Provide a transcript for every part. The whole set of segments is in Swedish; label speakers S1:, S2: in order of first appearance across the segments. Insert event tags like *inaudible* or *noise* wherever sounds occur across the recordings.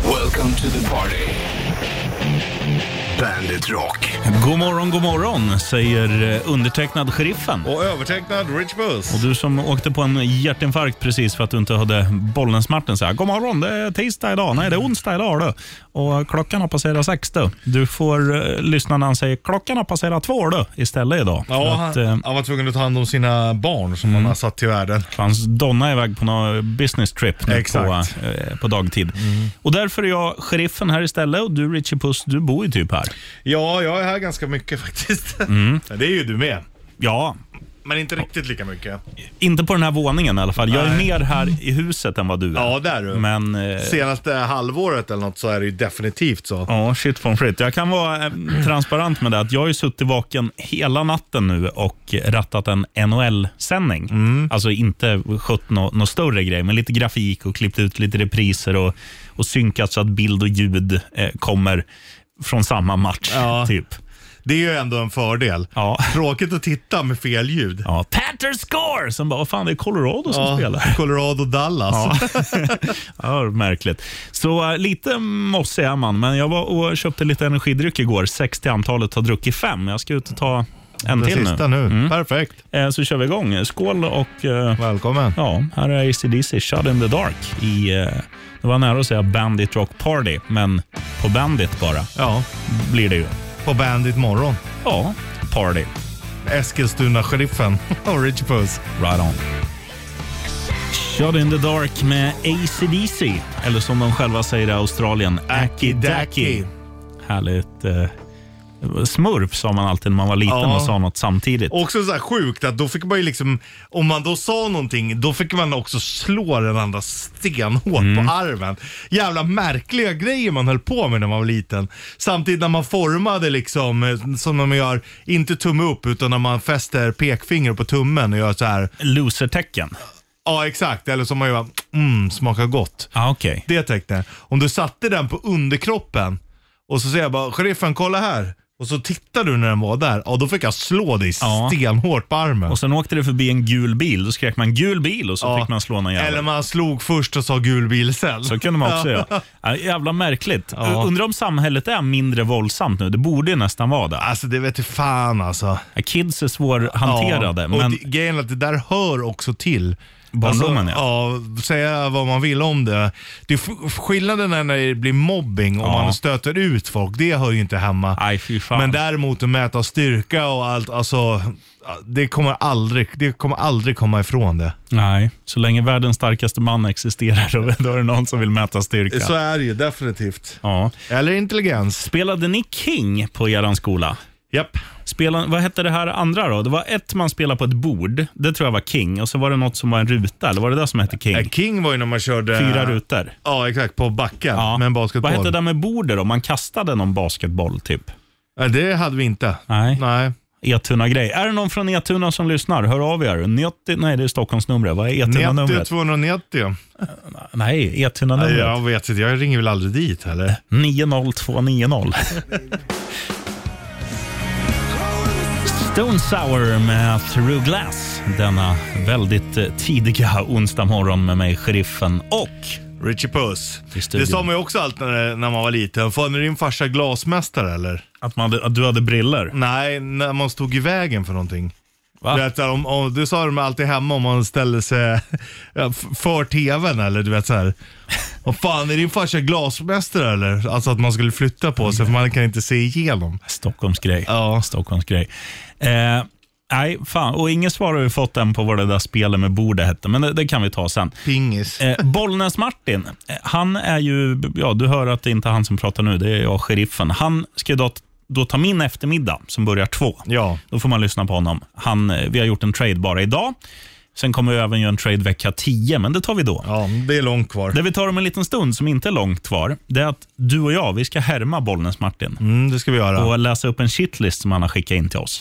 S1: Welcome to the party. Bandit Rock.
S2: God morgon, god morgon, säger eh, undertecknad sheriffen.
S3: Och övertecknad Rich Buss.
S2: Och du som åkte på en hjärtinfarkt precis för att du inte hade Bollnäs-Martin säger God morgon, det är tisdag idag. Nej, det är onsdag idag. Du. Och klockan har passerat sex. Du, du får eh, lyssna när han säger klockan har passerat två du, istället idag. För
S3: Ja,
S2: att, eh, Mm.
S3: han, han var tvungen att ta hand om sina barn som han har satt till världen.
S2: Hans Donna är iväg på någon business trip nu på,
S3: Exakt. Mm.
S2: eh, på dagtid. Och Därför är jag sheriffen här istället och du Richie Puss, du bor ju typ här.
S3: Ja, jag är här ganska mycket *laughs* faktiskt.
S2: Mm.
S3: Det är ju du med.
S2: Ja,
S3: Men inte riktigt lika mycket.
S2: inte på den här våningen i alla fall. Jag är
S3: Nej.
S2: mer här i huset än vad du är.
S3: Ja, det är du.
S2: Men eh,
S3: Senaste halvåret eller något så är det ju definitivt så.
S2: Ja, shit from shit. Jag kan vara eh,
S3: *clears throat*
S2: transparent med det. Att jag har ju suttit vaken hela natten nu och rattat en NHL-sändning.
S3: Mm.
S2: Alltså inte skött någon nå större grej, men lite grafik och klippt ut lite repriser och, och synkat så att bild och ljud eh, kommer från samma match.
S3: Ja.
S2: Typ.
S3: Det är ju ändå en fördel.
S2: Ja.
S3: Tråkigt att titta med fel ljud.
S2: Ja, Panthers score! Som bara, vad fan, det är Colorado som spelar.
S3: Colorado-Dallas.
S2: Ja, märkligt. Så eh, lite mossig är man, men jag var och köpte lite energidryck igår. Sex till antalet, har druckit fem. Jag ska ut och ta en
S3: Den
S2: till
S3: sista nu. Perfekt.
S2: Eh, Så kör vi igång. Skål och eh,
S3: Välkommen.
S2: ja, här är ACDC Shut in the Dark. I, eh, det var nära att säga Bandit Rock Party, men på Bandit bara
S3: Ja,
S2: blir det ju.
S3: på Bandit morgon.
S2: Ja, party.
S3: Eskilstuna-sheriffen *laughs* och Rich Puss.
S2: Right on. Shut in the Dark med ACDC, eller som de själva säger i Australien, Aki Daki. Härligt. Eh, smurf sa man alltid när man var liten
S3: Ja.
S2: och sa något samtidigt.
S3: Också så här sjukt att då fick man ju liksom, om man då sa någonting, då fick man också slå den andra stenhårt på armen. Jävla märkliga grejer man höll på med när man var liten. Samtidigt när man formade liksom, eh, som de gör, inte tumme upp utan när man fäster pekfinger på tummen och gör så här.
S2: Losertecken.
S3: Ja exakt, eller som man gör, mm, smakar gott.
S2: Ah, Okej.
S3: Det tecknet. Om du satte den på underkroppen och så säger jag bara, sheriffen kolla här. Och så tittar du när den var där. Ja, då fick jag slå dig
S2: Ja.
S3: stenhårt på armen.
S2: Och sen åkte det förbi en gul bil. Då skrek man gul bil och så
S3: Ja.
S2: fick man slå någon jävel.
S3: Eller man slog först och sa gul bil sen.
S2: Så kunde man också göra.
S3: *laughs*
S2: Ja, jävla märkligt.
S3: Ja.
S2: Undrar om samhället är mindre våldsamt nu. Det borde ju nästan vara det.
S3: Alltså det vet du fan alltså.
S2: Kids är svårhanterade,
S3: Ja. Och
S2: men
S3: det, grejen är att det där hör också till. Alltså,
S2: Barndomen,
S3: ja. Säga vad man vill om det. det är f- skillnaden är när det blir mobbing och
S2: Ja.
S3: man stöter ut folk. Det hör ju inte hemma.
S2: nej fy fan.
S3: Men däremot att mäta styrka och allt, alltså. Det kommer aldrig, det kommer aldrig komma ifrån det.
S2: Nej, så länge världens starkaste man existerar då- då är det någon som vill mäta styrka.
S3: är det ju definitivt.
S2: Ja.
S3: Eller intelligens.
S2: Spelade ni King på eran skola?
S3: Japp.
S2: Spela, vad hette det här andra då? Det var ett man spelade på ett bord. Det tror jag var King. Och så var det något som var en ruta, eller var det det som hette King?
S3: Äh, King var ju när man körde...
S2: Fyra rutor.
S3: Ja, exakt. På backen
S2: Ja.
S3: med en basketboll.
S2: Vad hette det där med bordet då? Man kastade någon basketboll typ.
S3: Nej, det hade vi inte.
S2: Nej.
S3: Nej.
S2: Etuna-grej. Är det någon från Etuna som lyssnar? Hör av er. 90, nej, det är Stockholmsnumret. Vad är
S3: 90
S2: Etuna-numret?
S3: 290.
S2: Nej,
S3: Nej,
S2: Etuna-numret.
S3: jag vet inte, jag ringer väl aldrig dit heller.
S2: 90290. Stone Sour med Through Glass. Denna väldigt eh, tidiga onsdag morgon med mig, sheriffen och
S3: Richie Puss.
S2: I studion.
S3: Det sa man ju också alltid när, när man var liten. Fan, är din farsa glasmästare eller?
S2: att, man, hade- att du hade briller.
S3: Nej, när man stod i vägen för någonting.
S2: Va?
S3: Du, vet, om, om, du sa de alltid hemma om man ställde sig *laughs* ja, f- för tvn eller du vet så här. Och fan, är din farsa glasmästare eller? Alltså att man skulle flytta på sig för man kan inte se igenom.
S2: Stockholmsgrej.
S3: Ja.
S2: Stockholmsgrej. Eh, nej, fan. Och inget svar har vi fått än på vad det där spelet med bordet hette, men det, det kan vi ta sen.
S3: Pingis.
S2: Eh, Bollnäs-Martin, eh, han är ju, ja du hör att det inte är han som pratar nu, det är jag, sheriffen. Han ska ju då, då ta min eftermiddag som börjar två.
S3: Ja.
S2: Då får man lyssna på honom. Han, eh, vi har gjort en trade bara idag. Sen kommer vi även göra en trade vecka 10, men det tar vi då.
S3: Ja, det är långt kvar.
S2: Det vi tar om en liten stund, som inte är långt kvar, det är att du och jag, vi ska härma Bollnäs-Martin
S3: Mm, det ska vi göra.
S2: och läsa upp en shitlist som han har skickat in till oss.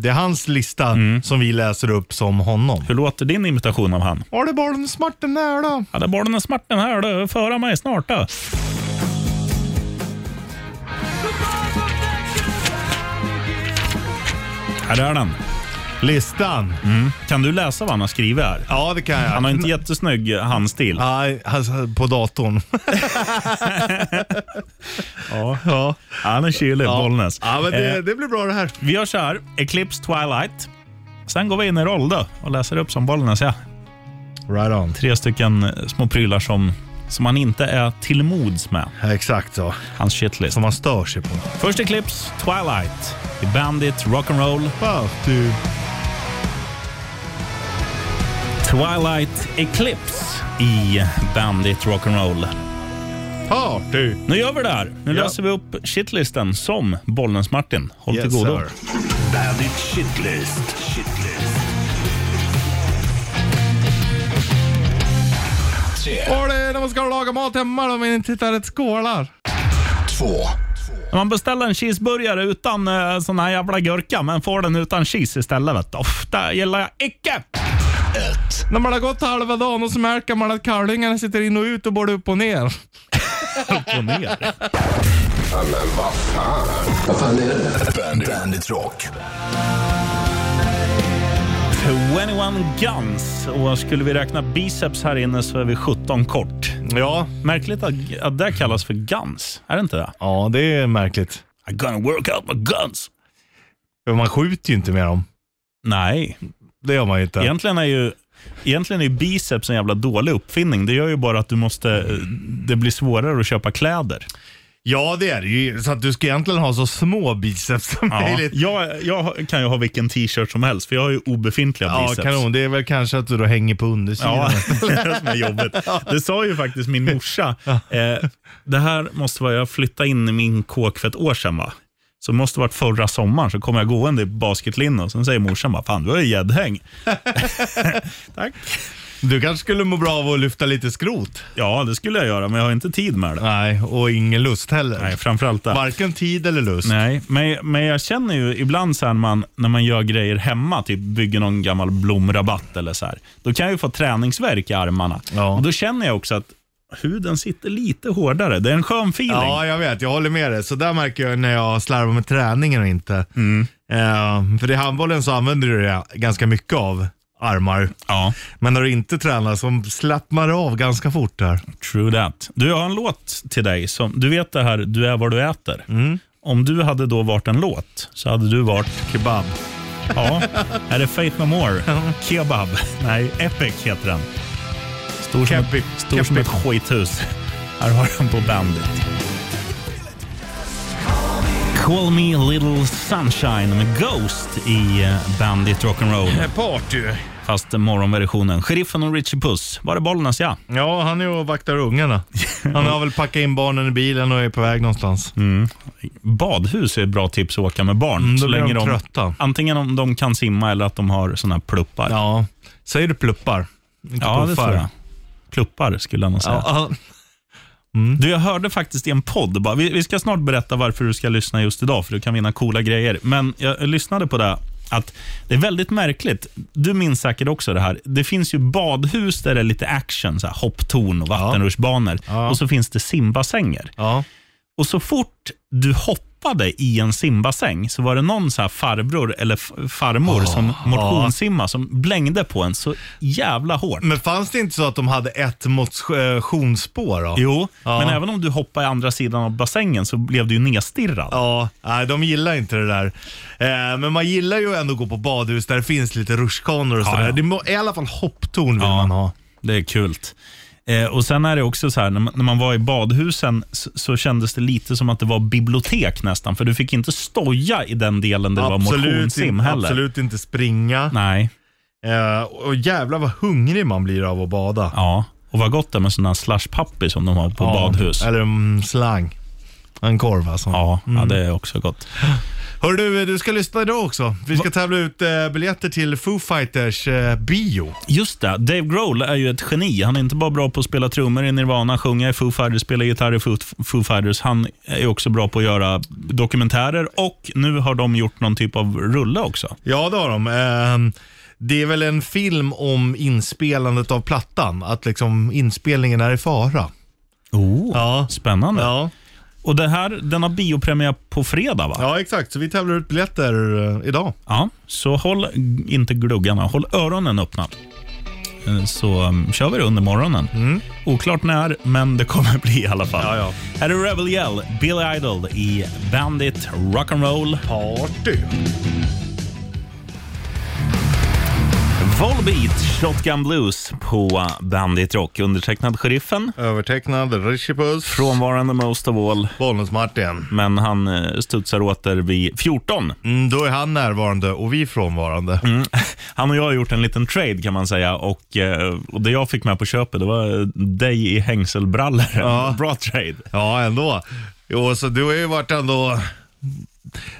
S3: Det är hans lista som vi läser upp som honom.
S2: Hur låter din imitation av han?
S3: Har du barnen smart den här då?
S2: Ja, det är Bollnäs-Martin här du, föra mig snart du. Här är den.
S3: Listan.
S2: Kan du läsa vad han har skrivit här?
S3: Ja, det kan jag.
S2: Han har inte jättesnygg handstil.
S3: Nej, alltså, på datorn.
S2: Ja.
S3: *laughs* ja.
S2: Han är chili, Bollnäs.
S3: Ja, men det,
S2: Eh,
S3: det blir bra det här.
S2: Vi gör så här, Eclipse Twilight. Sen går vi in i roll då och läser upp som Bollnäs. Ja.
S3: Right on.
S2: Tre stycken eh, små prylar som, som han inte är till mods med.
S3: Ja, exakt så.
S2: Hans shitlist.
S3: Som man stör sig på.
S2: Först Eclipse Twilight i Bandit Rock'n'Roll.
S3: Wow, du.
S2: Twilight Eclipse i Bandit Rock'n'Roll.
S3: Ja, du.
S2: Nu gör vi det här. Nu
S3: Ja.
S2: löser vi upp shitlisten som Bollnäs-Martin. Håll
S3: Yes,
S2: till godo.
S3: sir.
S1: Bandit Shitlist. Shitlist. Tre,
S3: Och det är när man ska laga mat hemma då, men inte hittar rätt skålar.
S1: två,
S2: När man beställer en cheeseburgare utan eh, sån här jävla gurka, men får den utan cheese istället. Vet du. Ofta gillar jag icke.
S1: ett,
S3: När man har gått halva dagen och så märker man att kallingarna sitter in och ut och både upp och *laughs* ner.
S2: Gå ner.
S1: Bandit, Bandit Rock.
S2: 21 guns. Och skulle vi räkna biceps här inne så är vi 17 kort.
S3: Ja.
S2: Märkligt att, att det kallas för guns. Är det inte det?
S3: Ja, det är märkligt.
S2: I gonna work out my guns.
S3: För Man skjuter ju inte med dem.
S2: Nej,
S3: Det gör man ju inte.
S2: Egentligen är ju Egentligen är ju biceps en jävla dålig uppfinning. Det gör ju bara att du måste, eh, det blir svårare att köpa kläder.
S3: Ja, det är det ju. Så att du ska egentligen ha så små biceps som möjligt.
S2: Jag, jag kan ju ha vilken t-shirt som helst, för jag har ju obefintliga
S3: Ja,
S2: biceps.
S3: kanon. Det är väl kanske att du då hänger på undersidan.
S2: Ja, *laughs* det är det som är jobbigt. Det sa ju faktiskt min
S3: *laughs*
S2: morsa. Eh, det här måste vara, jag flyttade in i min kåk för ett år sedan va? Så det måste ha varit förra sommaren, så kom jag gående i basketlinnen och sen säger morsan bara, fan du har ju gäddhäng. Tack.
S3: Du kanske skulle må bra av att lyfta lite skrot?
S2: Ja, det skulle jag göra, men jag har inte tid med det.
S3: Nej, och ingen lust heller.
S2: Nej, framförallt det.
S3: Varken tid eller lust.
S2: Nej, men, men jag känner ju ibland så här när man, när man gör grejer hemma, typ bygger någon gammal blomrabatt eller så här. Då kan jag ju få träningsvärk i armarna.
S3: Ja.
S2: Och då känner jag också att huden sitter lite hårdare. Det är en skön feeling.
S3: Ja, jag vet. Jag håller med dig. Så där märker jag när jag slarvar med träningen och inte.
S2: Mm.
S3: Eh, för i handbollen så använder du det ganska mycket av armar.
S2: Ja,
S3: Men när du inte tränar så slappnar du av ganska fort där.
S2: true that. Du, jag har en låt till dig. Som, du vet det här, du är vad du äter.
S3: Mm.
S2: Om du hade då varit en låt, så hade du varit,
S3: Kebab.
S2: ja, är det Faith No More? Kebab? Nej, Epic heter den. Stor som,
S3: Kepi-
S2: ett, stor som ett
S3: kepi.
S2: skithus. Här har den på bandet. Call Me Little Sunshine med Ghost i eh, Bandit Rock'n'Roll.
S3: Party.
S2: Fast morgonversionen. Sheriffen och Richie Puss. Var det Bollnäs, ja?
S3: Ja, han är och
S2: *laughs*
S3: vaktar ungarna. Han har väl packat in barnen i bilen och är på väg någonstans.
S2: Mm. Badhus är ett bra tips att åka med barn.
S3: Mm, då
S2: så
S3: blir
S2: länge
S3: de trötta.
S2: Antingen om de kan simma eller att de har såna här pluppar.
S3: Ja. Säger du pluppar? Inte
S2: Ja, det
S3: puffar.
S2: tror jag. Pluppar skulle jag nog säga.
S3: Ja, ja.
S2: Du, jag hörde faktiskt i en podd, bara, vi, vi ska snart berätta varför du ska lyssna just idag, för du kan vinna coola grejer. Men jag lyssnade på det, att det är väldigt märkligt. Du minns säkert också det här. Det finns ju badhus där det är lite action, så här, hopptorn och vattenrutschbanor. Och så finns det simbassänger.
S3: ja.
S2: Och så fort du hoppade i en simbassäng så var det någon så här farbror eller f-
S3: Ah.
S2: farmor som motionssimma som blängde på en så jävla hårt.
S3: Men fanns det inte så att de hade ett motionsspår då?
S2: Jo,
S3: Ja.
S2: men även om du hoppade i andra sidan av bassängen så blev du ju nedstirrad.
S3: Ja, nej, de gillar inte det där. Eh, men man gillar ju ändå att gå på badhus där det finns lite rutschkanor och sådär.
S2: ja.
S3: Det må, I alla fall hopptorn vill man ha.
S2: Det är kul. Eh, och sen är det också så här, när man, när man var i badhusen så, så kändes det lite som att det var bibliotek nästan, för du fick inte stoja i den delen där det var motionssim
S3: inte,
S2: heller.
S3: absolut inte springa.
S2: Nej,
S3: Eh, och jävlar vad hungrig man blir av att bada.
S2: ja. Och vad gott det är med sådana slush puppy som de har på
S3: Ja,
S2: badhus.
S3: Eller mm, slang. En korv alltså.
S2: Ja, ja, det är också gott.
S3: Hör du, du ska lyssna idag också. Vi ska tävla ut eh, biljetter till Foo Fighters eh, bio.
S2: Just det, Dave Grohl är ju ett geni. Han är inte bara bra på att spela trummor i Nirvana, sjunga i Foo Fighters, spela gitarr i Foo, Foo Fighters. Han är också bra på att göra dokumentärer och nu har de gjort någon typ av rulle också.
S3: Ja, det har de. Ehm, det är väl en film om inspelandet av plattan, att liksom inspelningen är i fara.
S2: Oh,
S3: Ja.
S2: Spännande.
S3: Ja.
S2: Och det här, den har biopremiär på fredag va?
S3: Ja, exakt. Så vi tävlar ut biljetter eh, idag.
S2: Ja, så håll inte gluggarna, håll öronen öppna. Eh, Så um, kör vi det under morgonen. Oklart när, men det kommer *laughs* bli i alla fall.
S3: Mm. Ja, ja.
S2: Här är Rebel Yell, Billy Idol i Bandit Rock'n'Roll.
S3: Party!
S2: Volbeat, Shotgun Blues på Bandit Rock. Undertecknad Sheriffen,
S3: Övertecknad Richie Puss.
S2: frånvarande most of all,
S3: Bollnäs-Martin.
S2: men han eh, studsar åter vid 14.
S3: Mm, då är han närvarande och vi frånvarande.
S2: Mm. *laughs* Han och jag har gjort en liten trade kan man säga och, eh, och det jag fick med på köpet det var eh, dig i hängselbrallor. *laughs* Bra trade.
S3: Ja, ändå. Jo, så du har ju varit ändå...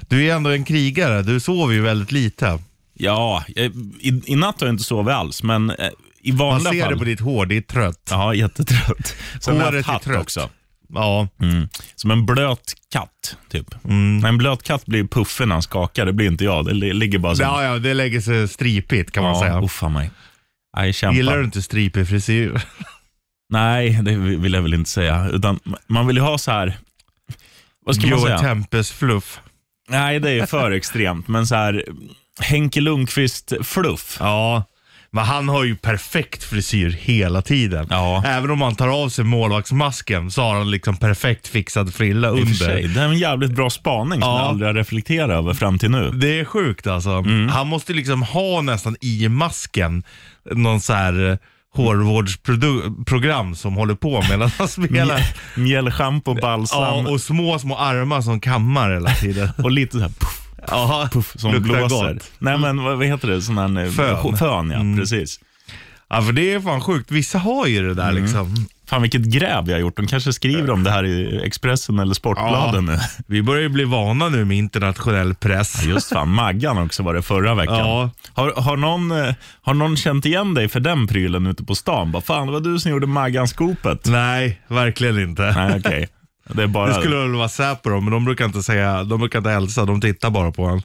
S3: Du är ändå en krigare. Du sover ju väldigt lite.
S2: Ja, eh, i, i natt har jag inte sovit alls men eh, i
S3: Man
S2: vanliga
S3: ser
S2: fall.
S3: det på ditt hår. Det är trött.
S2: Ja, jättetrött. Sen har jag
S3: Håret
S2: haft
S3: är
S2: hatt
S3: trött.
S2: också.
S3: Ja.
S2: Mm. Som en blöt katt, typ.
S3: Mm.
S2: Men En blöt katt blir puffig när han skakar, det blir inte jag. Det li- ligger bara så.
S3: Ja, ja, det lägger sig stripigt kan man säga.
S2: uffa mig. Nej, jag kämpar.
S3: Gillar du inte stripig frisyr?
S2: Nej, det vill jag väl inte säga. Utan man vill ju ha så här... Vad ska man
S3: Joe
S2: säga?
S3: Tempes fluff.
S2: Nej, det är för extremt. Men så här, Henke Lundqvist-fluff.
S3: Ja, men han har ju perfekt frisyr hela tiden.
S2: Ja.
S3: Även om han tar av sig målvaktsmasken så har han liksom perfekt fixad frilla
S2: I och för
S3: under.
S2: sig, Det är en jävligt bra spaning som
S3: Ja.
S2: jag aldrig har reflekterat över fram till nu.
S3: Det är sjukt alltså.
S2: Mm.
S3: Han måste liksom ha nästan i masken någon så här eh, hårvårdsprogram som håller på medan
S2: *laughs*
S3: han spelar.
S2: Mjällschampo, balsam
S3: Ja,
S2: och,
S3: och små, små armar som kammar hela
S2: *laughs*
S3: tiden.
S2: lite så här puff,
S3: Ja,
S2: puff som
S3: luktar
S2: blåser.
S3: gott.
S2: Nej, men vad vad heter det? Sån här, eh,
S3: Fön.
S2: Fön, ja. Precis.
S3: Ja, för det är fan sjukt. Vissa har ju det där
S2: Mm.
S3: liksom.
S2: Fan vilket gräv jag har gjort. De kanske skriver om det här i Expressen eller Sportbladen nu.
S3: Vi börjar ju bli vana nu med internationell press.
S2: Just fan, Maggan också var det förra veckan.
S3: Ja.
S2: Har, har, någon, eh, har någon känt igen dig för den prylen ute på stan? Bara, fan, det var du som gjorde Maggan-skopet.
S3: Nej, verkligen inte.
S2: Nej, okej. Det är bara...
S3: Det skulle väl vara Säpo då, men de brukar inte säga, de brukar inte hälsa, de tittar bara på en.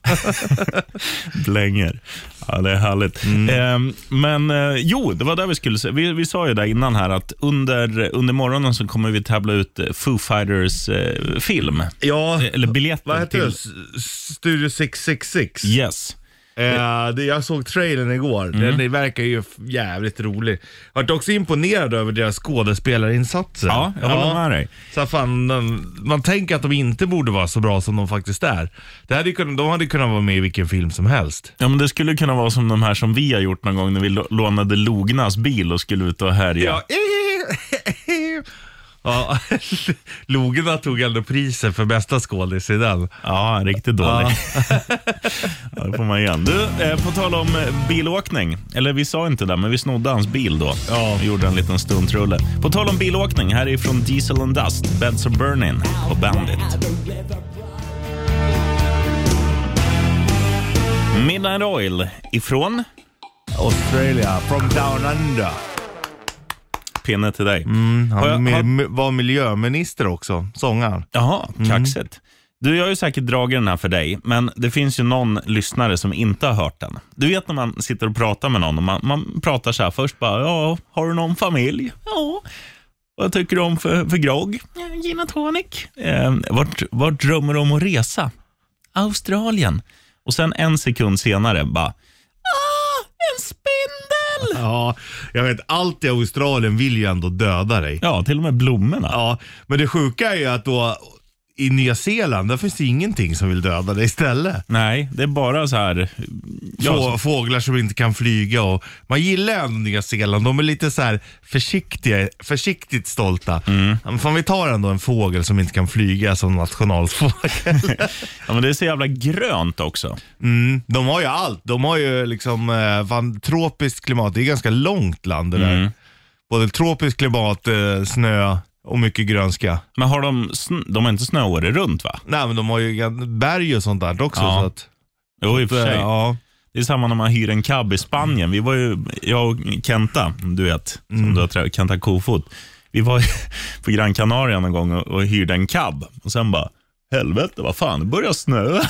S2: blänger. Ja, det är härligt.
S3: Mm.
S2: Ehm, men eh, jo, det var där vi skulle se. Vi, vi sa ju där innan här att under, under morgonen så kommer vi tävla ut eh, Foo Fighters eh, film.
S3: Ja,
S2: Eller biljetter
S3: vad heter
S2: till...
S3: det? S- Studio 666.
S2: Yes.
S3: Eh, det, jag såg trailern igår. Den det verkar ju f- jävligt rolig. Jag Vart också imponerad över deras skådespelarinsatser.
S2: Ja, jag håller med dig.
S3: Så här, fan, den, man tänker att de inte borde vara så bra som de faktiskt är. Det hade ju kunnat, de hade kunnat vara med i vilken film som helst.
S2: Ja, men det skulle kunna vara som de här som vi har gjort någon gång när vi lo- lånade Lognas bil och skulle ut och härja.
S3: *laughs* ja. *laughs* Logerna tog ändå priset för bästa skådis i den.
S2: Ja, riktigt dålig. *laughs* ja, det får man igen. Du, eh, på tal om eh, bilåkning. Eller vi sa inte det, men vi snodde hans bil då.
S3: Ja.
S2: Vi gjorde en liten stuntrulle. På tal om bilåkning, här är från Diesel and Dust, Beds of Burning och Bandit. Midnight Oil ifrån
S3: Australia, from down under. Mm.
S2: Pinne till dig. har jag,
S3: Han mi-
S2: har,
S3: mi- var miljöminister också, sångaren.
S2: jaha, kaxigt. Du, jag har ju säkert dragit den här för dig, men det finns ju någon lyssnare som inte har hört den. Du vet när man sitter och pratar med någon och man, man pratar så här först bara, ja, har du någon familj? Ja. Vad tycker du om för, för grogg? Ja, gin och tonic. Eh, vart, vart drömmer du om att resa? Australien. Och sen en sekund senare bara, ah, en spindel!
S3: Ja, jag vet. Allt i Australien vill ju ändå döda dig.
S2: Ja, till och med blommorna.
S3: Ja, men det sjuka är ju att då i Nya Zeeland, där finns det ingenting som vill döda dig istället.
S2: Nej, det är bara så här... ja,
S3: Få, Fåglar som inte kan flyga och man gillar ändå Nya Zeeland. De är lite så här försiktiga, försiktigt stolta. Mm. Men fan, vi tar ändå en fågel som inte kan flyga som nationalfågel.
S2: Ja, men det är så jävla grönt också.
S3: Mm, de har ju allt. De har ju liksom eh, fan, tropiskt klimat. Det är ganska långt land det
S2: Mm.
S3: där. Både tropiskt klimat, eh, snö och mycket grönska.
S2: Men har de, sn- de har inte snö året runt va?
S3: Nej men de har ju gan- berg och sånt där också.
S2: Ja,
S3: så att, eh,
S2: Jo, i och för sig.
S3: ja.
S2: Det är samma när man hyr en cab i Spanien. Vi var ju, jag och Kenta, du vet, som
S3: Mm.
S2: du har trä- Kenta Kofot. Vi var ju *laughs* på Gran Canaria någon gång och, och hyrde en cab. Och sen bara, helvete vad fan, det börjar *laughs* snöa.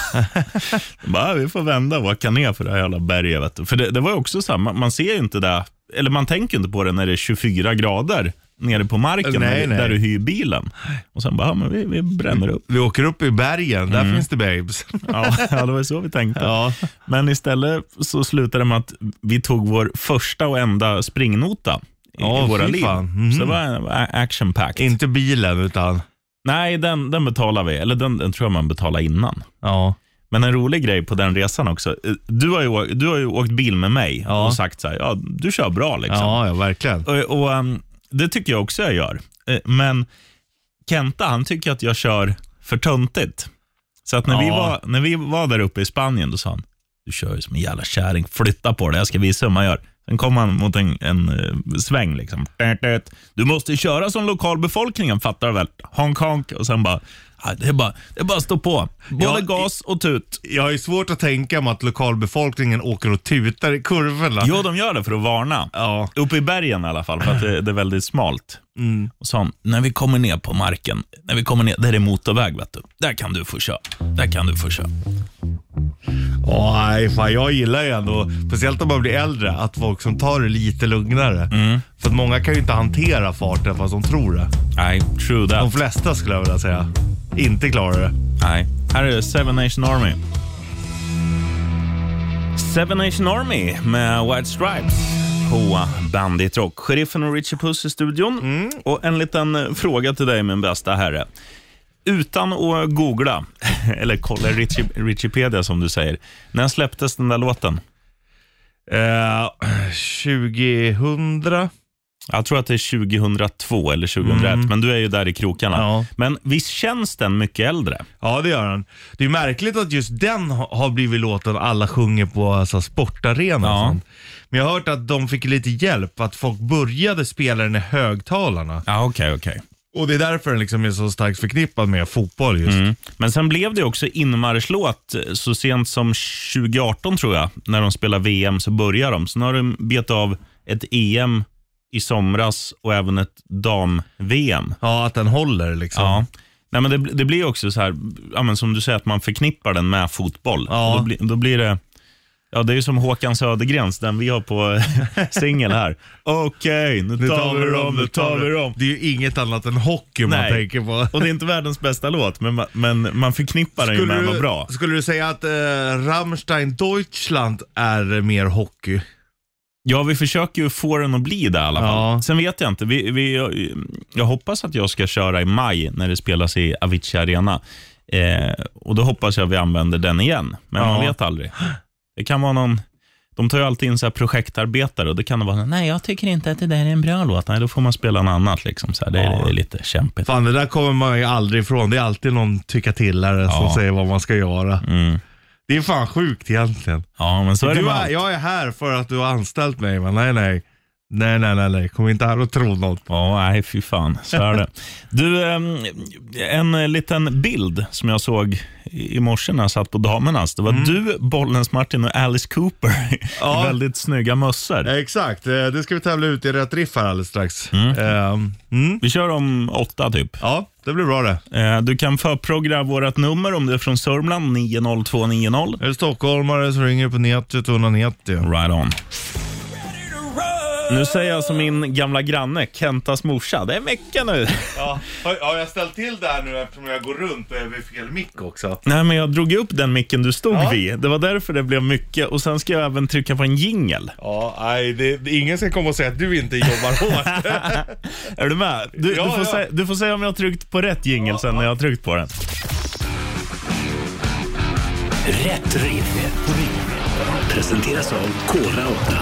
S2: Jag bara, vi får vända och åka ner för det här jävla berget. Vet du. För det, det var ju också så här, man, man ser ju inte det, eller man tänker ju inte på det när det är 24 grader nere på marken
S3: Nej,
S2: där,
S3: nej.
S2: där du hyr bilen. Och sen bara, ja, men vi, vi bränner upp.
S3: Vi åker upp i bergen,
S2: Mm.
S3: där finns det babes. *laughs*
S2: Ja, *laughs* ja, det var ju så vi tänkte.
S3: Ja.
S2: Men istället så slutade det med att vi tog vår första och enda springnota i,
S3: Ja,
S2: i våra
S3: fy
S2: liv.
S3: fan. Mhm.
S2: Så det var en a- action packed.
S3: Inte bilen utan,
S2: Nej, den, den betalar vi. Eller den, den tror jag man betalar innan.
S3: ja.
S2: Men en rolig grej på den resan också. Eh, Du har ju, å- du har ju åkt bil med mig
S3: Ja.
S2: och sagt så här, ja, du kör bra liksom.
S3: Ja, ja verkligen.
S2: Och, och, ehm, det tycker jag också jag gör. Eh, Men Kenta, han tycker att jag kör för töntigt. Så att när, vi
S3: Ja.
S2: var, när vi var där uppe i Spanien, då sa han, du kör ju som en jävla kärring, flytta på dig, jag ska visa hur man gör. Sen kom han mot en, en eh, sväng. Liksom. Tät, tät. Du måste köra som lokalbefolkningen, fattar du väl? Honk, honk. Och sen bara, "Ja, det är bara, det är bara att stå på. Både
S3: Ja, i-
S2: gas och tut.
S3: Jag har ju svårt att tänka mig att lokalbefolkningen åker och tutar i kurvorna.
S2: Jo, de gör det för att varna.
S3: Ja.
S2: Uppe i bergen i alla fall, för att det, det är väldigt smalt. Och sa han, när vi kommer ner på marken, när vi kommer ner, där är det motorväg, vet du. Där kan du få köra. Där kan du få köra.
S3: Åh, nej, fan, jag gillar ju ändå, speciellt om man blir äldre, att folk som tar det lite lugnare.
S2: Mm.
S3: För att många kan ju inte hantera farten fast de tror det.
S2: Nej, true that.
S3: De flesta skulle jag vilja säga. Inte klarar det.
S2: Nej. Här är Seven Nation Army. Seven Nation Army med White Stripes på Bandit Rock. Sheriffen och Richie Puss i studion. Och en liten eh, fråga till dig, min bästa herre. Utan att googla, *laughs* eller kolla Richie- Richiepedia som du säger. När släpptes den där låten?
S3: Eh, 2000?
S2: Jag tror att det är 2002 eller 2001, men du är ju där i krokarna.
S3: Ja.
S2: Men visst känns den mycket äldre?
S3: Ja, det gör han. Det är märkligt att just den ha- har blivit låten alla sjunger på alltså, sportarenor
S2: Ja.
S3: och sånt. Men jag har hört att de fick lite hjälp, att folk började spela den i högtalarna.
S2: Ja, okej, okej.
S3: Och det är därför den liksom är så starkt förknippad med fotboll just.
S2: Mm. Men sen blev det också inmarschlåt eh, så sent som 2018 tror jag. När de spelar VM så börjar de. Sen har de bet av ett EM i somras och även ett dam-VM.
S3: Ja, att den håller liksom.
S2: Ja. Nej, men det, det blir också så här, ja, men som du säger, att man förknippar den med fotboll.
S3: Ja.
S2: Och Då, blir- då blir det, ja, det är ju som Håkan Södergrens, den vi har på *laughs* singel här. Okej, nu tar vi dem, nu tar vi dem.
S3: Det är ju inget annat än hockey man
S2: Nej.
S3: tänker på.
S2: Och det är inte världens bästa låt, men, ma- men man förknippar den ju med vad bra.
S3: skulle du säga att eh, Rammstein Deutschland är mer hockey?
S2: Ja, vi försöker ju få den att bli det i alla fall.
S3: Ja.
S2: Sen vet jag inte. Vi, vi, jag, jag hoppas att jag ska köra i maj när det spelas i Avicii Arena. Eh, och Då hoppas jag vi använder den igen, men
S3: Ja.
S2: man vet aldrig. Det kan vara någon... De tar ju alltid in så här projektarbetare och det kan vara nej jag tycker inte att det där är en bra låt. Nej, då får man spela något annat. Liksom, så här. Det, är,
S3: Ja.
S2: det är lite kämpigt.
S3: Fan, det där kommer man ju aldrig ifrån. Det är alltid någon tyckatillare
S2: Ja.
S3: som säger vad man ska göra.
S2: Mm.
S3: Det är fan sjukt egentligen.
S2: Ja, men så är det
S3: Du
S2: med
S3: är,
S2: allt.
S3: jag är här för att du har anställt mig, men nej, nej. Nej, nej, nej, nej. Kom inte här och tro något.
S2: Ja, nej fy fan. Så är det. Du, ehm, en eh, liten bild som jag såg i i morse när jag satt på damernas. Det var du, Bollens Martin och Alice Cooper *laughs* i
S3: Ja.
S2: väldigt snygga mössor.
S3: Exakt, eh, det ska vi tävla ut i rätt riff här alldeles strax. Ehm, mm.
S2: Vi kör om åtta typ.
S3: Ja, det blir bra det.
S2: Eh, Du kan förprogramma vårt nummer om du är från Sörmland, 90290.
S3: Är du stockholmare så ringer du på nätet 190.
S2: Right on. Nu säger jag som min gamla granne, Kentas morsa. Det är mycket nu.
S3: Ja, har, har jag ställt till det här nu eftersom jag går runt och är vid fel mick också?
S2: *laughs* Nej, men jag drog upp den micken du stod
S3: Ja.
S2: vid. Det var därför det blev mycket. Och Sen ska jag även trycka på en jingel.
S3: Ja, nej, det, det- ingen ska komma och säga att du inte jobbar hårt.
S2: Är du med? Du,
S3: Ja,
S2: du, får,
S3: ja.
S2: Säga, du får säga om jag har tryckt på rätt jingel sen när jag har tryckt på den.
S1: Rätt riff. Presenteras av Kora 8.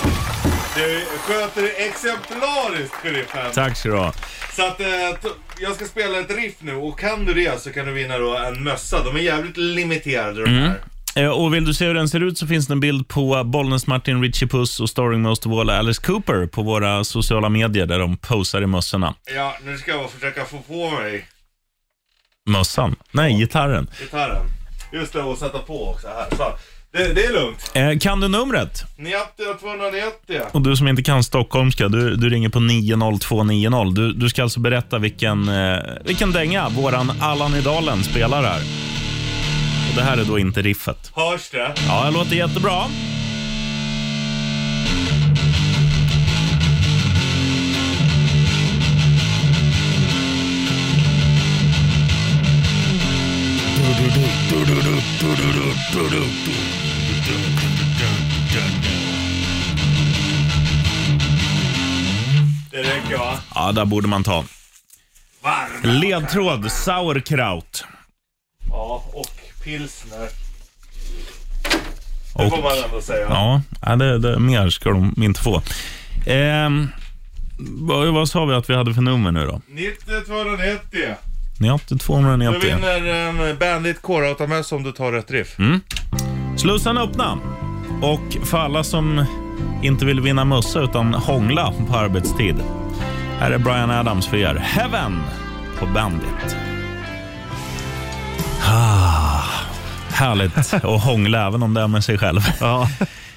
S3: *laughs* du sköter det exemplariskt, sheriffen.
S2: Tack ska du ha.
S3: Så att eh, t- jag ska spela ett riff nu och kan du det så kan du vinna då en mössa. De är jävligt limiterade de här.
S2: Eh, Och vill du se hur den ser ut så finns det en bild på Bollnäs Martin, Richie Puss och starring most of all Alice Cooper på våra sociala medier där de posar i mössorna.
S3: Ja, nu ska jag försöka få på mig
S2: Mössan? Nej, gitarren.
S3: gitarren. Just det, och sätta på också här. Så, det, det är lugnt.
S2: Eh, Kan du numret?
S3: Niaptia 290.
S2: Och du som inte kan stockholmska, du, du ringer på 90290. Du, du ska alltså berätta vilken, eh, vilken dänga våran Allan i Dalen spelar här. Och det här är då inte riffet.
S3: Hörs det?
S2: Ja, det låter jättebra.
S3: Det räcker va?
S2: Ja, där borde man ta.
S3: Varm.
S2: Ledtråd, sauerkraut.
S3: Ja, och pilsner. Det
S2: Och-
S3: får man ändå säga.
S2: Ja, ja, det, det, mer ska de inte få. Ehm, vad, vad sa vi att vi hade för nummer nu då?
S3: 90 290.
S2: Ni har inte
S3: Du
S2: 290.
S3: vinner en Bandit Core-automössa om du tar rätt riff.
S2: Mm. Slussarna öppna. Och för alla som inte vill vinna mössa utan hångla på arbetstid. Här är Brian Adams för er. Heaven på Bandit. Ah, härligt att hångla även om det är med sig själv.
S3: Ja.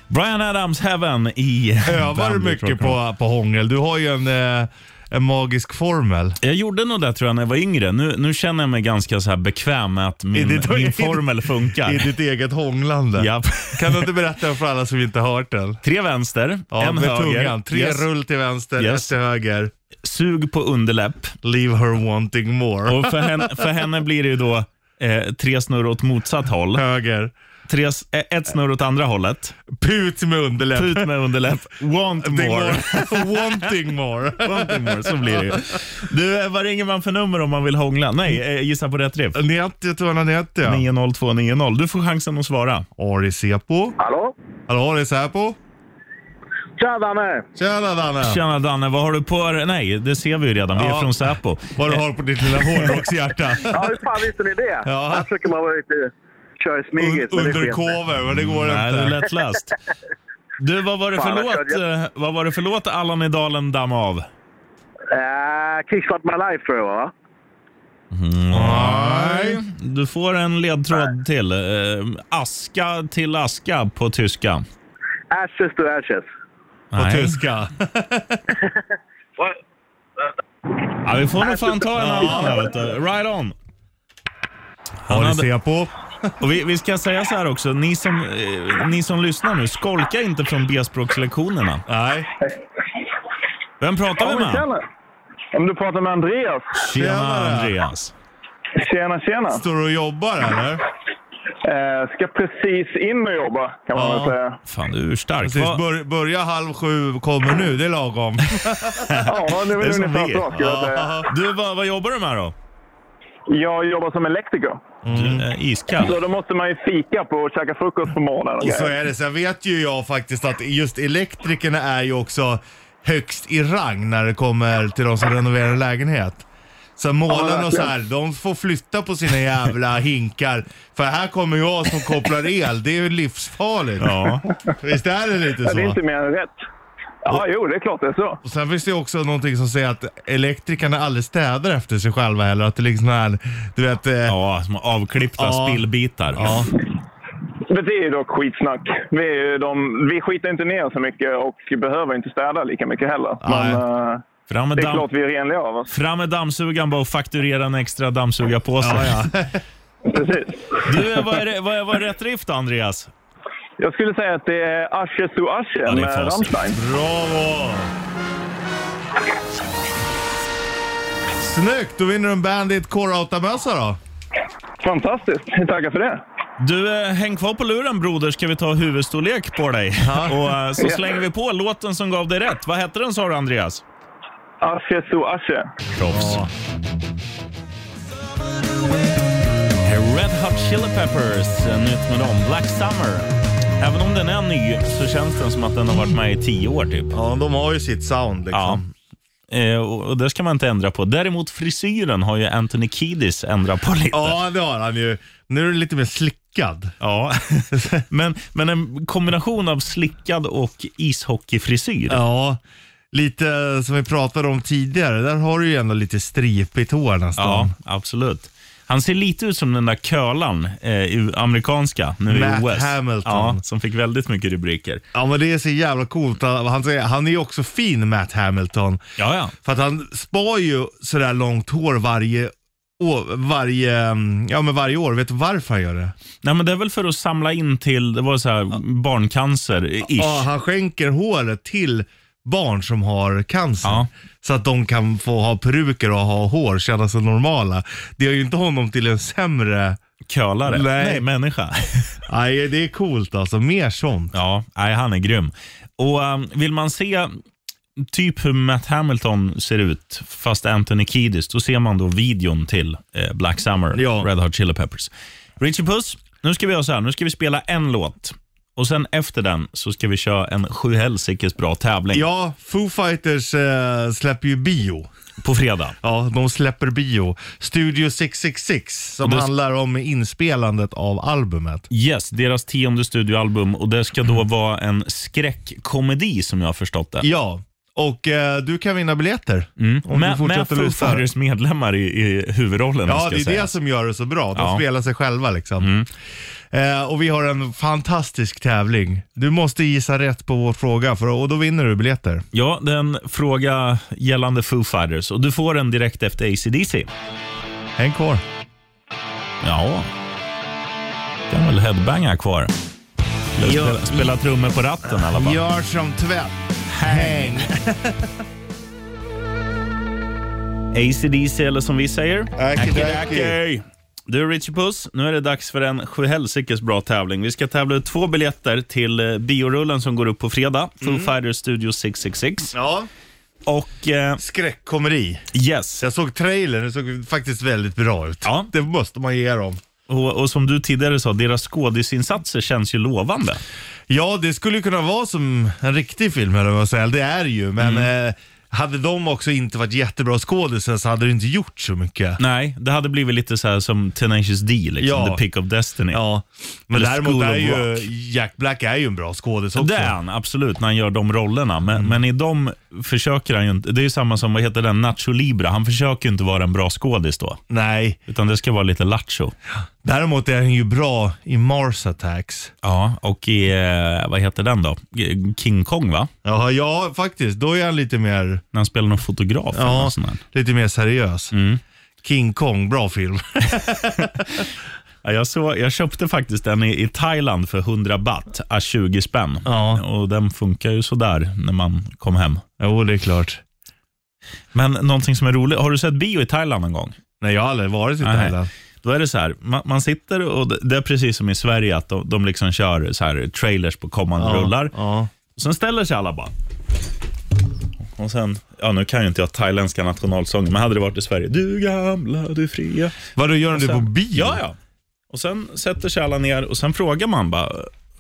S2: Brian Adams Heaven i
S3: Övar du
S2: Bandit
S3: mycket
S2: Rock'n'Roll.
S3: på, på hångel? Du har ju en, eh, en magisk formel.
S2: Jag gjorde nog det tror jag när jag var yngre. Nu, nu känner jag mig ganska så här bekväm med att min,
S3: I ditt-
S2: min formel
S3: I
S2: funkar.
S3: ditt eget hånglande.
S2: Japp.
S3: Kan du inte berätta för alla som inte har hört den?
S2: Tre vänster,
S3: Ja,
S2: en
S3: med
S2: höger.
S3: tungan. Tre
S2: Yes.
S3: rull till vänster,
S2: Yes.
S3: ett till höger.
S2: Sug på underläpp.
S3: Leave her wanting more.
S2: Och för henne, för henne blir det ju då eh, tre snurr åt motsatt håll.
S3: Höger.
S2: Tre, s- eh, ett snurr åt andra hållet.
S3: Put med underläpp.
S2: Ut med underläpp. Want
S3: Wanting
S2: *laughs* more.
S3: more. *laughs* wanting more.
S2: Wanting more, så blir det ju. Du, eh, vad ringer man för nummer om man vill hångla? Nej, eh, gissa på rätt riff.
S3: 90 290 ja.
S2: 90290. Du får chansen att svara.
S3: Ari Sepo.
S4: Hallå?
S3: Hallå, Ari Säpo.
S4: Tja Danne!
S3: Tjena Danne.
S2: Tjena Danne, vad har du på dig? Nej, det ser vi ju redan. Vi är
S3: Ja.
S2: från Säpo.
S3: Vad du har på ditt lilla *laughs* hårdrockshjärta.
S4: Ja, hur fan visste ni det?
S3: Ja.
S4: Här försöker man vara lite köra i
S3: Un-
S4: smyget, men det sket sig.
S3: Undercover, men det går
S2: Nej, det är
S3: inte.
S2: lättläst. Du, vad var det för
S4: Fan, vad
S2: låt? eh, Vad var det för låt Allan i dalen damm av?
S4: Äh, Kickstart My Life tror jag va?
S3: Nej.
S2: Du får en ledtråd till. Eh, Aska till aska på tyska.
S4: Ashes to Ashes.
S3: På
S2: Nej.
S3: tyska.
S2: Ja, vi får nog fan ta en annan här, vet du. Right on. Han
S3: Ari
S2: hade,
S3: Sepo.
S2: och vi, vi ska säga så här också, ni som, eh, ni som lyssnar nu, skolka inte från B-språkslektionerna.
S3: Nej.
S2: Vem pratar vi med?
S4: Om du pratar med Andreas.
S2: Tjena
S3: Tjenare.
S2: Andreas.
S4: Tjena, tjena.
S3: Står du och jobbar eller?
S4: Eh, ska precis in och jobba kan man
S3: Ja.
S4: väl säga.
S2: Fan, du är stark.
S3: Precis,
S2: Va,
S3: bör, börja halv sju, kommer nu. Det är lagom.
S4: Ja, det är
S2: Det är
S4: väl
S2: som
S4: ungefär
S2: vi.
S4: så skulle jag säga.
S3: Ja.
S2: du, vad, vad jobbar du med då?
S4: Jag jobbar som elektriker.
S2: Du är iskall.
S4: Så då måste man ju fika på och käka frukost på morgonen. och
S3: Och så
S4: grejer.
S3: är det. Sen vet ju jag faktiskt att just elektrikerna är ju också högst i rang när det kommer till de som renoverar en lägenhet. Så målarna och så här, de får flytta på sina jävla hinkar. För här kommer jag som kopplar el. Det är ju livsfarligt.
S2: Ja.
S3: Visst är det lite
S4: Ja, det är
S3: så?
S4: inte mer än rätt. Ja, jo, det är klart det är så.
S3: Och sen finns det ju också någonting som säger att elektrikerna aldrig städar efter sig själva heller. Att det liksom är, du vet, eh,
S2: Ja, små avklippta
S3: Ja.
S2: spillbitar. Ja.
S4: Men det är ju dock skitsnack. Vi, är ju de, vi skiter inte ner så mycket och behöver inte städa lika mycket heller.
S3: Nej.
S4: Men eh,
S2: Fram, med
S4: det är
S2: damm,
S4: klart vi är renliga av oss.
S2: fram med dammsugaren bara och fakturera en extra dammsugarpåse.
S4: Precis.
S2: Du, eh, vad är, det- vad är, vad är rätt drift då, Andreas?
S4: Jag skulle säga att det är Asche zu Asche
S2: det är
S4: med
S2: facit.
S4: Rammstein.
S3: Bravo! Snyggt! Då vinner du en Bandit Core-Outta-mössa då.
S4: Fantastiskt. Tackar för det.
S2: Du, eh, häng kvar på luren broder, ska vi ta huvudstorlek på dig. *laughs* Och eh, så slänger vi på låten som gav dig rätt. Vad hette den sa du, Andreas?
S4: Asche zu Asche.
S2: Proffs. Red Hot Chili Peppers, eh, nytt med dem. Black Summer. Även om den är ny så känns den som att den har varit med i tio år typ.
S3: Ja, de har ju sitt sound
S2: Ja.
S3: liksom.
S2: Eh, och och det ska man inte ändra på. Däremot frisyren har ju Anthony Kiedis ändrat på lite.
S3: Ja, det har han ju. Nu är du lite mer slickad.
S2: Ja. *laughs* men, men en kombination av slickad och ishockeyfrisyr.
S3: Ja, lite som vi pratade om tidigare. Där har du ju ändå lite stripigt hår nästan.
S2: Ja, absolut. Han ser lite ut som den där kölan eh, i- amerikanska nu
S3: Matt
S2: i OS.
S3: Hamilton.
S2: Ja, som fick väldigt mycket rubriker.
S3: Ja, men det är så jävla coolt. Han, han säger- han är ju också fin, Matt Hamilton.
S2: Ja, ja.
S3: För att han spar ju sådär långt hår varje år. Varje, mm, ja, men varje år. Vet du varför han gör det?
S2: Nej, men det är väl för att samla in till, det var så här, barncancer-ish.
S3: Ja, han skänker håret till barn som har cancer.
S2: Ja.
S3: Så att de kan få ha peruker och ha hår, känna sig normala. Det gör ju inte honom till en sämre
S2: Kölare.
S3: Nej.
S2: Nej människa.
S3: Nej, det är coolt alltså. Mer sånt.
S2: Ja, nej, han är grym. Och um, Vill man se typ hur Matt Hamilton ser ut, fast Anthony Kiedis, då ser man då videon till eh, Black Summer,
S3: Ja.
S2: Red Hot Chili Peppers. Richie Puss, nu ska vi göra så här. Nu ska vi spela en låt. Och sen efter den så ska vi köra en sjuhelsikes bra tävling
S3: Ja, Foo Fighters eh, släpper ju bio.
S2: på fredag.
S3: Ja, de släpper bio. Studio 666 som
S2: Och det-
S3: handlar om inspelandet av albumet.
S2: Yes, deras tionde studioalbum och det ska då vara en skräckkomedi som jag har förstått det.
S3: Mm. Ja, och eh, du kan vinna biljetter. Om du
S2: Mm. Med, med
S3: fortsätter
S2: Foo
S3: lyssna.
S2: Fighters medlemmar i, i huvudrollen. ska
S3: Ja,
S2: jag
S3: det är
S2: säga.
S3: det som gör det så bra. De
S2: Ja. Mm.
S3: spelar sig själva liksom. Eh, och vi har en fantastisk tävling. Du måste gissa rätt på vår fråga för, och då vinner du biljetter.
S2: Ja, det är en fråga gällande Foo Fighters och du får den direkt efter ACDC.
S3: Häng kvar.
S2: Ja. Kan väl headbanga kvar. Eller
S3: Ja.
S2: Spela, spela trummor på ratten i alla fall.
S3: Gör som tvätt. Häng.
S2: ACDC eller som vi säger.
S3: Aki-daki.
S2: Aki-daki. Du Richie Puss, nu är det dags för en sjuhelsikes bra tävling. Vi ska tävla ut två biljetter till eh, biorullen som går upp på fredag. Foo Fighters Studio 666.
S3: Ja,
S2: Och eh,
S3: skräckkomedi.
S2: yes,
S3: Jag såg trailern, det såg faktiskt väldigt bra ut.
S2: Ja.
S3: Det måste man ge dem.
S2: och, och som du tidigare sa, deras skådisinsatser känns ju lovande.
S3: Ja, det skulle ju kunna vara som en riktig film eller vad jag säger. Det är det ju, men
S2: Mm.
S3: eh, hade de också inte varit jättebra skådisar så hade det inte gjort så mycket.
S2: Nej, det hade blivit lite så här som Tenacious D, liksom,
S3: Ja.
S2: The Pick of Destiny.
S3: Ja, men
S2: Eller
S3: däremot
S2: School
S3: är
S2: of
S3: ju
S2: Rock.
S3: Jack Black är ju en bra skådis också.
S2: Det är han, absolut, när han gör de rollerna. Men, men i dem försöker han ju inte. Det är ju samma som, vad heter den, Nacho Libra. Han försöker ju inte vara en bra skådis då.
S3: Nej,
S2: Utan det ska vara lite lattjo.
S3: däremot är han ju bra i Mars Attacks.
S2: Ja, och i, eh, vad heter den då? King Kong va?
S3: Jaha, ja faktiskt. Då är han lite mer,
S2: När han spelar någon fotograf eller
S3: ja,
S2: något sånt där.
S3: lite mer seriös.
S2: Mm.
S3: King Kong, bra film. *laughs*
S2: Ja, jag, såg, jag köpte faktiskt den i, i Thailand för 100 baht, à 20 spänn.
S3: Ja.
S2: Och den funkar ju sådär när man kom hem.
S3: jo, det är klart.
S2: Men någonting som är roligt, har du sett bio i Thailand någon gång?
S3: Nej, jag har aldrig varit i
S2: Nej.
S3: Thailand.
S2: Då är det så här, man, man sitter och det, det är precis som i Sverige att de, de liksom kör så här trailers på kommande rullar.
S3: Ja.
S2: Sen ställer sig alla bara. Och sen, ja nu kan ju inte jag thailändska nationalsången, men hade det varit i Sverige, du gamla, du fria.
S3: Vadå, gör de det på
S2: Sen-
S3: bio?
S2: Ja, ja. Och sen sätter sig alla ner och sen frågar man bara,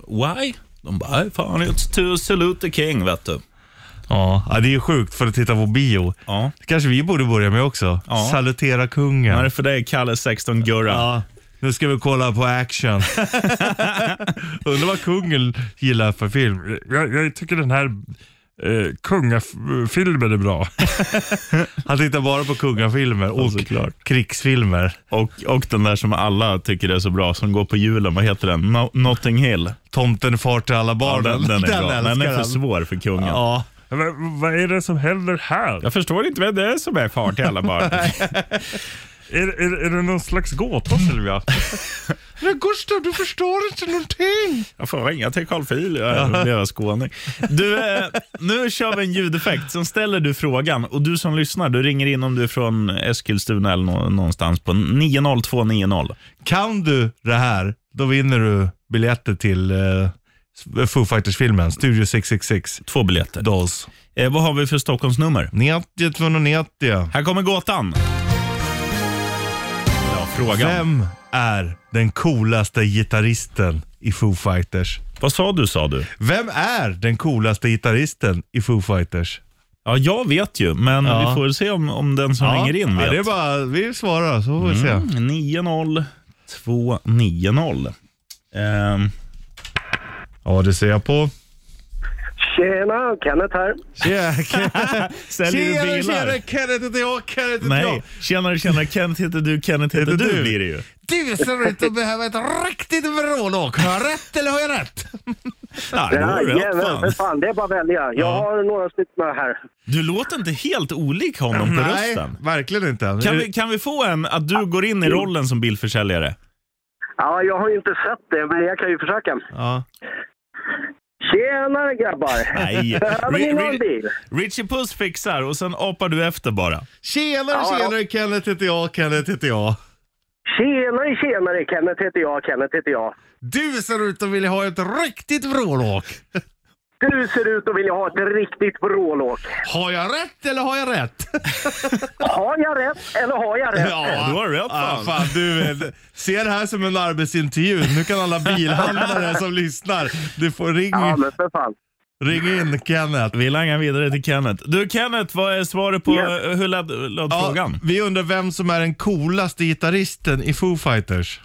S2: why? De bara, "Nej, fan it's to salute the king, vet du.
S3: Ja, ja, det är ju sjukt för att titta på bio.
S2: Ja.
S3: Det kanske vi borde börja med också.
S2: Ja.
S3: Salutera
S2: Det här är
S3: kungen.
S2: för dig, Kalle 16 Gurra.
S3: Ja, nu ska vi kolla
S2: *laughs*
S3: på action. Undrar vad kungen gillar för film. Jag, jag tycker den här eh, kungafilmen
S2: *laughs*
S3: är bra. Han tittar bara på kungafilmer och
S2: såklart.
S3: krigsfilmer.
S2: Och, och den där som alla tycker är så bra, som går på julen, vad heter den? No, Notting Hill.
S3: Tomten far till alla
S2: Ja,
S3: barn.
S2: den, den är bra. Den
S3: älskar
S2: är för
S3: han.
S2: svår för kungen.
S3: Ja.
S5: vad är det som händer här?
S2: Jag förstår inte vad det är som är far till alla *laughs* barn.
S5: Är, är, är det någon slags gåta Sylvia?
S3: Men Gustav, du förstår inte någonting.
S2: Jag får ringa till Carl Phil, jag är deras skåning. Du, eh, nu kör vi en ljudeffekt, sen ställer du frågan. Och du som lyssnar, du ringer in om du är från Eskilstuna eller nå- någonstans på 90290.
S3: Kan du det här, då vinner du biljetter till eh, Foo Fighters-filmen, Studio 666.
S2: Två biljetter.
S3: Dolls.
S2: Eh, vad har vi för Stockholmsnummer?
S3: 90 290.
S2: Här kommer gåtan. Ja, frågan.
S3: Vem är den coolaste gitarristen i Foo Fighters?
S2: Vad sa du, sa du?
S3: Vem är den coolaste gitarristen i Foo Fighters?
S2: Ja, jag vet ju, men
S3: Ja.
S2: vi får se om, om den som ringer in vet. Mm.
S3: ja, det är bara, vi svarar så får vi se.
S2: 90290. Ehm,
S3: Ja, det ser jag på.
S6: Tjena, Kenneth här.
S3: Tjena,
S2: Säljer du
S3: tjena,
S2: bilar?
S3: tjena, Kenneth heter jag, Kenneth heter
S2: Nej,
S3: jag.
S2: tjenare tjenare, Kenneth heter du, Kenneth heter
S3: Heter
S2: du,
S3: du?
S2: blir det ju.
S3: Du ser ut att behöva ett riktigt vrålåk. Har jag rätt eller har jag rätt?
S2: Ja, det var rätt,
S6: Jajamän, för
S2: fan.
S6: fan. Det är bara att välja. Jag har några stycken här.
S2: Du låter inte helt olik honom på
S3: Nej,
S2: rösten.
S3: verkligen inte.
S2: Kan vi, kan vi få en att du går in i rollen som bilförsäljare?
S6: Ja, jag har ju inte sett det, men jag kan ju försöka.
S3: Ja.
S6: Tjenare grabbar! *laughs*
S2: *laughs* Nej.
S6: Behöver ni
S2: Ri-
S6: någon
S2: ri-
S6: bil?
S2: Richie Puss fixar och sen apar du efter bara.
S3: Tjenare,
S6: Ja, ja.
S3: tjenare, Kenneth heter jag, Kenneth heter jag.
S6: Tjenare, tjenare! Kenneth heter jag, Kenneth heter jag.
S3: Du ser ut att vilja ha ett riktigt vrålåk.
S6: Du ser ut att vilja ha ett riktigt vrålåk.
S3: Har jag rätt eller har jag
S2: *laughs*
S3: rätt?
S6: Har jag rätt eller har jag rätt?
S2: du har rätt,
S3: Ja,
S2: fan.
S3: fan du, eh, se det här som en arbetsintervju. Nu kan alla
S2: *laughs*
S3: bilhandlare som lyssnar, du får ring,
S6: Ja, men för fan.
S3: ring in Kenneth.
S2: Vi langar vidare till Kenneth. Du Kenneth, vad är svaret på
S6: Ja.
S2: eh, hur löd, löd
S3: Ja,
S2: frågan?
S3: vi undrar vem som är den coolaste gitarristen i Foo Fighters?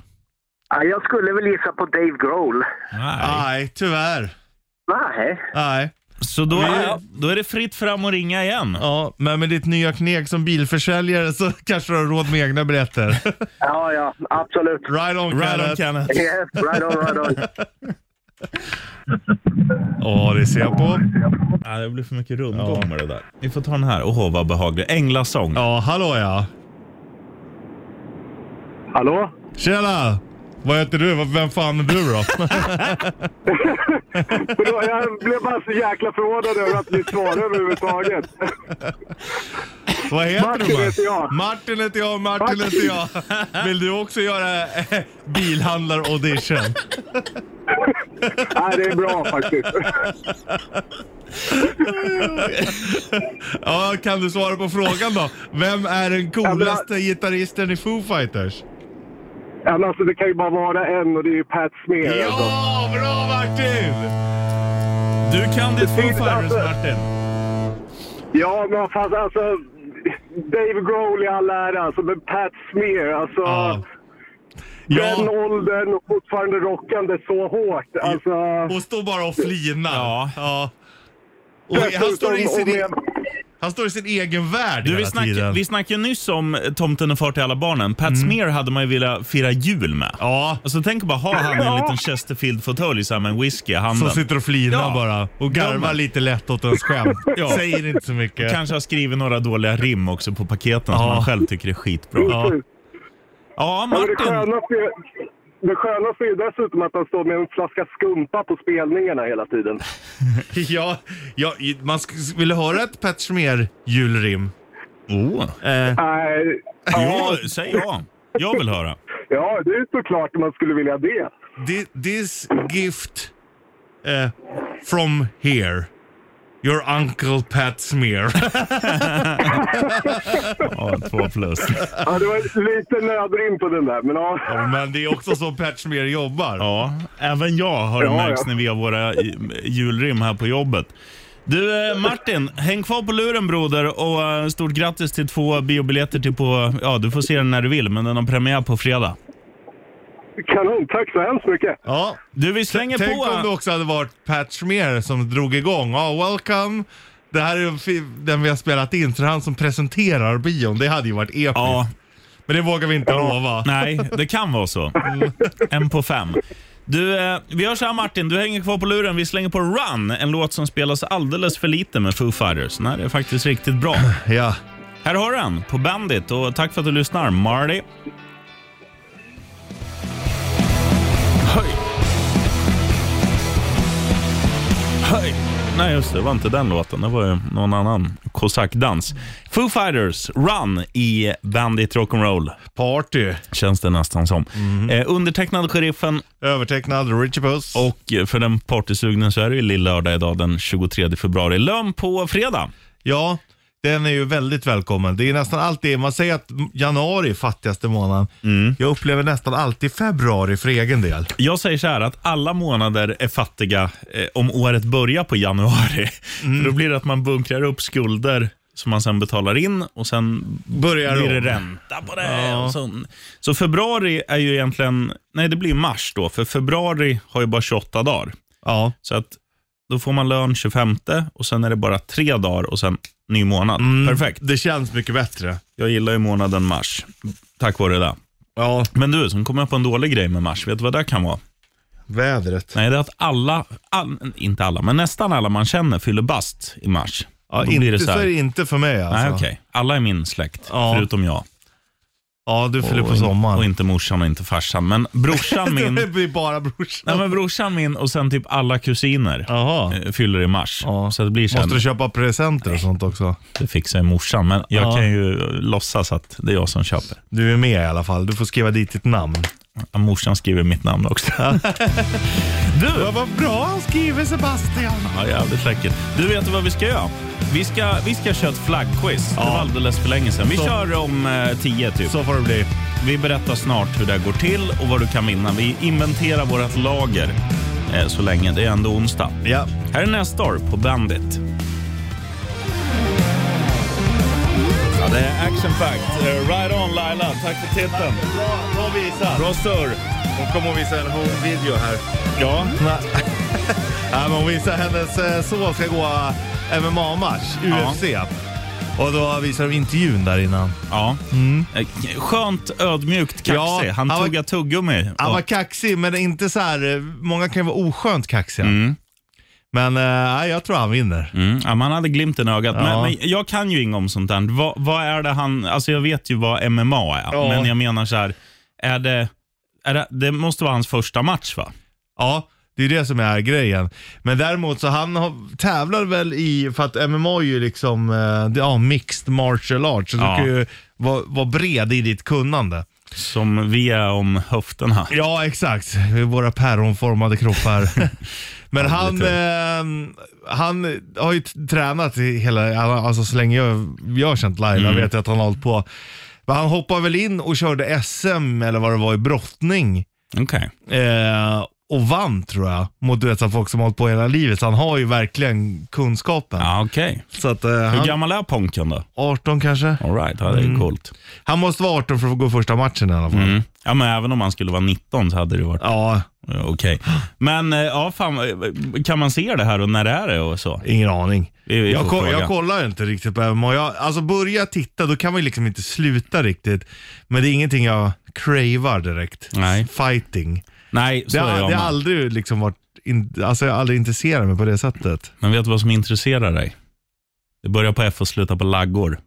S6: Ja, jag skulle väl gissa på Dave Grohl.
S2: Nej.
S3: Nej, tyvärr.
S6: Nej.
S3: Nej.
S2: Så då är, då är det fritt fram att ringa igen.
S3: Ja, men med ditt nya kneg som bilförsäljare så *laughs* kanske du har råd med egna *laughs* biljetter.
S6: Ja, ja,
S2: *laughs*
S6: absolut.
S3: Right on
S2: Right on
S3: Kenneth.
S2: Kenneth.
S6: Yes, right on, right on.
S3: Ja, det ser jag på.
S2: Ja, det blir för mycket rundgång med det där. Vi får ta den här. Åh, vad behaglig. Änglasång.
S3: Ja, hallå ja.
S6: Hallå?
S3: Tjena! Vad heter du? Vad- Vem fan är du då? *laughs*
S6: Förlåt, jag blev bara så jäkla förvånad över att ni svarade överhuvudtaget.
S3: Vad heter
S6: Martin
S3: du? bara?
S6: heter jag.
S3: Martin heter jag, Martin
S6: Martin.
S3: heter jag. *laughs* Vill du också göra eh,
S6: *laughs*
S3: bilhandlar-audition?
S6: Nej, det är bra faktiskt.
S3: Ja, kan du svara på frågan då? Vem är den coolaste gitarristen i Foo Fighters?
S6: Ja, men Alltså, det kan ju bara vara en och det är ju Pat Smear. alltså.
S3: Ja, bra Martin!
S2: Du kan ditt Foo
S6: Precis,
S2: Fighters,
S6: alltså.
S2: Martin.
S6: Ja, men fast alltså... Dave Grohl i all ära, alltså, men Pat Smear, alltså...
S3: Ja.
S6: Den
S3: Ja,
S6: åldern och fortfarande rockande så hårt. Alltså,
S3: och står bara och flinar.
S2: Ja.
S3: ja. Och han, står i
S6: dessutom
S3: sin, e-
S6: och med-
S3: han står i sin egen värld
S2: Du, vi,
S3: hela
S2: snack,
S3: tiden. Mm.
S2: vi snackade ju nyss om eh, Tomten är far till alla barnen. Pat Smear hade man ju velat fira jul med.
S3: Ja,
S2: Alltså, tänk bara ha han i en liten Chesterfield-fåtölj så här med en whisky i
S3: som
S2: handen.
S3: sitter och flinar
S2: Ja.
S3: bara och garvar
S2: Dummen.
S3: lite lätt åt ens skämt.
S2: *laughs* Ja.
S3: Säger inte så mycket.
S2: Kanske har skrivit några dåliga rim också på paketen som
S3: Ja.
S2: man själv tycker är skitbra. Ja,
S6: Ja, men det,
S2: Martin.
S6: skönaste, är- det skönaste är ju dessutom att han står med en flaska skumpa på spelningarna
S3: *laughs*
S6: hela tiden.
S3: Ja, ja, i- man sk- ville höra ett Pat Smear julrim.
S2: Oh.
S3: Eh,
S6: Nej, ja,
S2: Jo, säg ja. Jag vill höra.
S6: ja, det är ju såklart man skulle vilja det.
S3: thi- this gift eh, from here. Your uncle Pat Smear. *laughs*
S2: Ja, två plus.
S6: Ja, det var lite nödrim på den där, men ja.
S3: Ja, Men det är också så Pat Smear jobbar.
S2: Ja, även jag har det
S6: Ja,
S2: märks
S6: ja.
S2: när vi har våra eh, julrim här på jobbet. Du eh, Martin, häng kvar på luren broder och eh, stort grattis till två biobiljetter till på, ja du får se den när du vill, men den har premiär på fredag.
S6: Kanon, tack så hemskt mycket.
S3: Ja.
S2: Du vi slänger
S3: Tänk om det
S2: på... eh,
S3: också hade varit Pat Smear som drog igång. Ja, welcome. Det här är ju fi- den vi har spelat in, så det är han som presenterar bion. Det hade ju varit episkt.
S2: Ja,
S3: Men det vågar vi inte lova.
S2: nej, det kan vara så. En på fem. Du, eh, vi gör så här Martin, du hänger kvar på luren. Vi slänger på Run, en låt som spelas alldeles för lite med Foo Fighters. Den här är faktiskt riktigt bra.
S3: Ja.
S2: Här har du den på Bandit och tack för att du lyssnar Marty. Höj! Höj! Nej just det, det var inte den låten. Det var ju någon annan kosackdans. Foo Fighters, Run i Bandit Rock'n'Roll.
S3: Party.
S2: Känns det nästan som. Eh, undertecknad Sheriffen
S3: Övertecknad Richie Puss.
S2: och eh, för den partysugnen så är det ju lill-lördag idag den 23 februari. Lön på fredag.
S3: Ja, den är ju väldigt välkommen. Det är nästan alltid, man säger att januari är fattigaste månaden. Jag upplever nästan alltid februari för egen del.
S2: Jag säger så här att alla månader är fattiga eh, om året börjar på januari.
S3: Mm.
S2: För då blir det att man bunkrar upp skulder som man sen betalar in och sen
S3: Börjar
S2: blir det
S3: om.
S2: ränta på det.
S3: Ja.
S2: Och sån. Så februari är ju egentligen, nej det blir mars då, för februari har ju bara 28 dagar.
S3: Ja,
S2: Så att då får man lön 25 och sen är det bara tre dagar och sen ny månad.
S3: Mm.
S2: Perfekt.
S3: det känns mycket bättre.
S2: Jag gillar ju månaden mars, tack vare det. där.
S3: Ja,
S2: Men du, sen kommer jag på en dålig grej med mars. Vet du vad det kan vara?
S3: vädret.
S2: Nej, det är att alla, all, inte alla, men nästan alla man känner fyller bast i mars.
S3: Ja,
S2: Då blir
S3: inte,
S2: det så här-
S3: är det inte för mig alltså.
S2: Nej, okej. Alla i min släkt,
S3: Ja.
S2: förutom jag.
S3: Ja, du fyller på
S2: Och-
S3: sommaren.
S2: Och inte morsan och inte farsan. Men brorsan
S3: *laughs* Det
S2: min,
S3: blir bara brorsan.
S2: nej, men brorsan min och sen typ alla kusiner
S3: Jaha.
S2: eh, fyller i mars. Så det blir så
S3: Måste du
S2: här,
S3: köpa presenter och sånt också?
S2: det fixar ju morsan. Men jag
S3: Ja.
S2: kan ju låtsas att det är jag som köper.
S3: Du är med i alla fall. Du får skriva dit ditt namn.
S2: Ja, morsan skriver mitt namn också.
S3: Du! Ja, vad bra han skriver Sebastian.
S2: *laughs* Ja, jävligt läckert. Du vet vad vi ska göra? Vi ska, vi ska köra ett flaggquiz. Det var alldeles för länge sedan. Vi
S3: Så.
S2: kör om eh, tio typ.
S3: Så får det bli.
S2: Vi berättar snart hur det här går till och vad du kan vinna. Vi inventerar vårt lager eh, så länge. Det är ändå onsdag.
S3: Ja.
S2: Här är nästa år på Bandit. Ja, det är action fact. Eh, Right on Laila, tack för titeln.
S3: Bra, bra visat.
S2: Bra surr.
S3: Hon kommer att visa en home-video här.
S2: Ja,
S3: *laughs* Nej, Nej, men hon visar hennes eh, son ska gå eh, MMA-match,
S2: Ja.
S3: UFC. Och då visar de intervjun där innan.
S2: ja. Eh, Skönt ödmjukt kaxig.
S3: Ja,
S2: han
S3: han var-
S2: tuggade tuggummi.
S3: Han
S2: Och-
S3: var kaxig, men inte så här. eh, Många kan ju vara oskönt kaxiga. Men eh, nej, jag tror han vinner.
S2: Mm, ja, man hade glimten i ögat. Men,
S3: Ja.
S2: men jag kan ju inget om sånt där. Vad, vad är det han... Alltså jag vet ju vad MMA är,
S3: Ja.
S2: men jag menar så här, är det, är det... Det måste vara hans första match va?
S3: Ja, det är det som är grejen. Men däremot så han har, tävlar väl i, för att MMA är ju liksom, eh, det- ja, mixed martial arts. Så
S2: Ja.
S3: du kan ju vara, vara bred i ditt kunnande.
S2: Som vi är om höfterna.
S3: Ja, exakt. Våra päronformade kroppar. *laughs* Men han, eh, han har ju t- tränat i hela, alltså så länge jag, jag har känt Laila vet jag att han har hållit på. Men han hoppade väl in och körde SM eller vad det var i brottning.
S2: Okej.
S3: Eh, och vann tror jag, mot du vet, så här folk som har hållit på hela livet. Så han har ju verkligen kunskapen.
S2: Ja, okej.
S3: Så att, eh,
S2: Hur
S3: han, Mm.
S2: gammal är Ponken då?
S3: 18 kanske?
S2: All right, ja, det är ju coolt.
S3: Han måste vara 18 för att få gå första matchen i alla fall.
S2: Mm. Ja, men även om han skulle vara 19 så hade det varit
S3: Ja,
S2: ja. okej. Men eh, ja, fan, eh, kan man se det här och när det är det och så?
S3: ingen aning.
S2: Vi- vi
S3: Jag,
S2: får
S3: ko-
S2: fråga.
S3: jag kollar inte riktigt på MMA. Jag, alltså börjar jag titta, då kan man ju liksom inte sluta riktigt. Men det är ingenting jag cravar direkt.
S2: Nej.
S3: Fighting.
S2: Nej, så
S3: Det,
S2: är
S3: har,
S2: jag
S3: det har
S2: med.
S3: aldrig liksom varit, in, alltså jag har aldrig intresserat mig på det sättet.
S2: Men vet du vad som intresserar dig? Det börjar på F och slutar på laggor.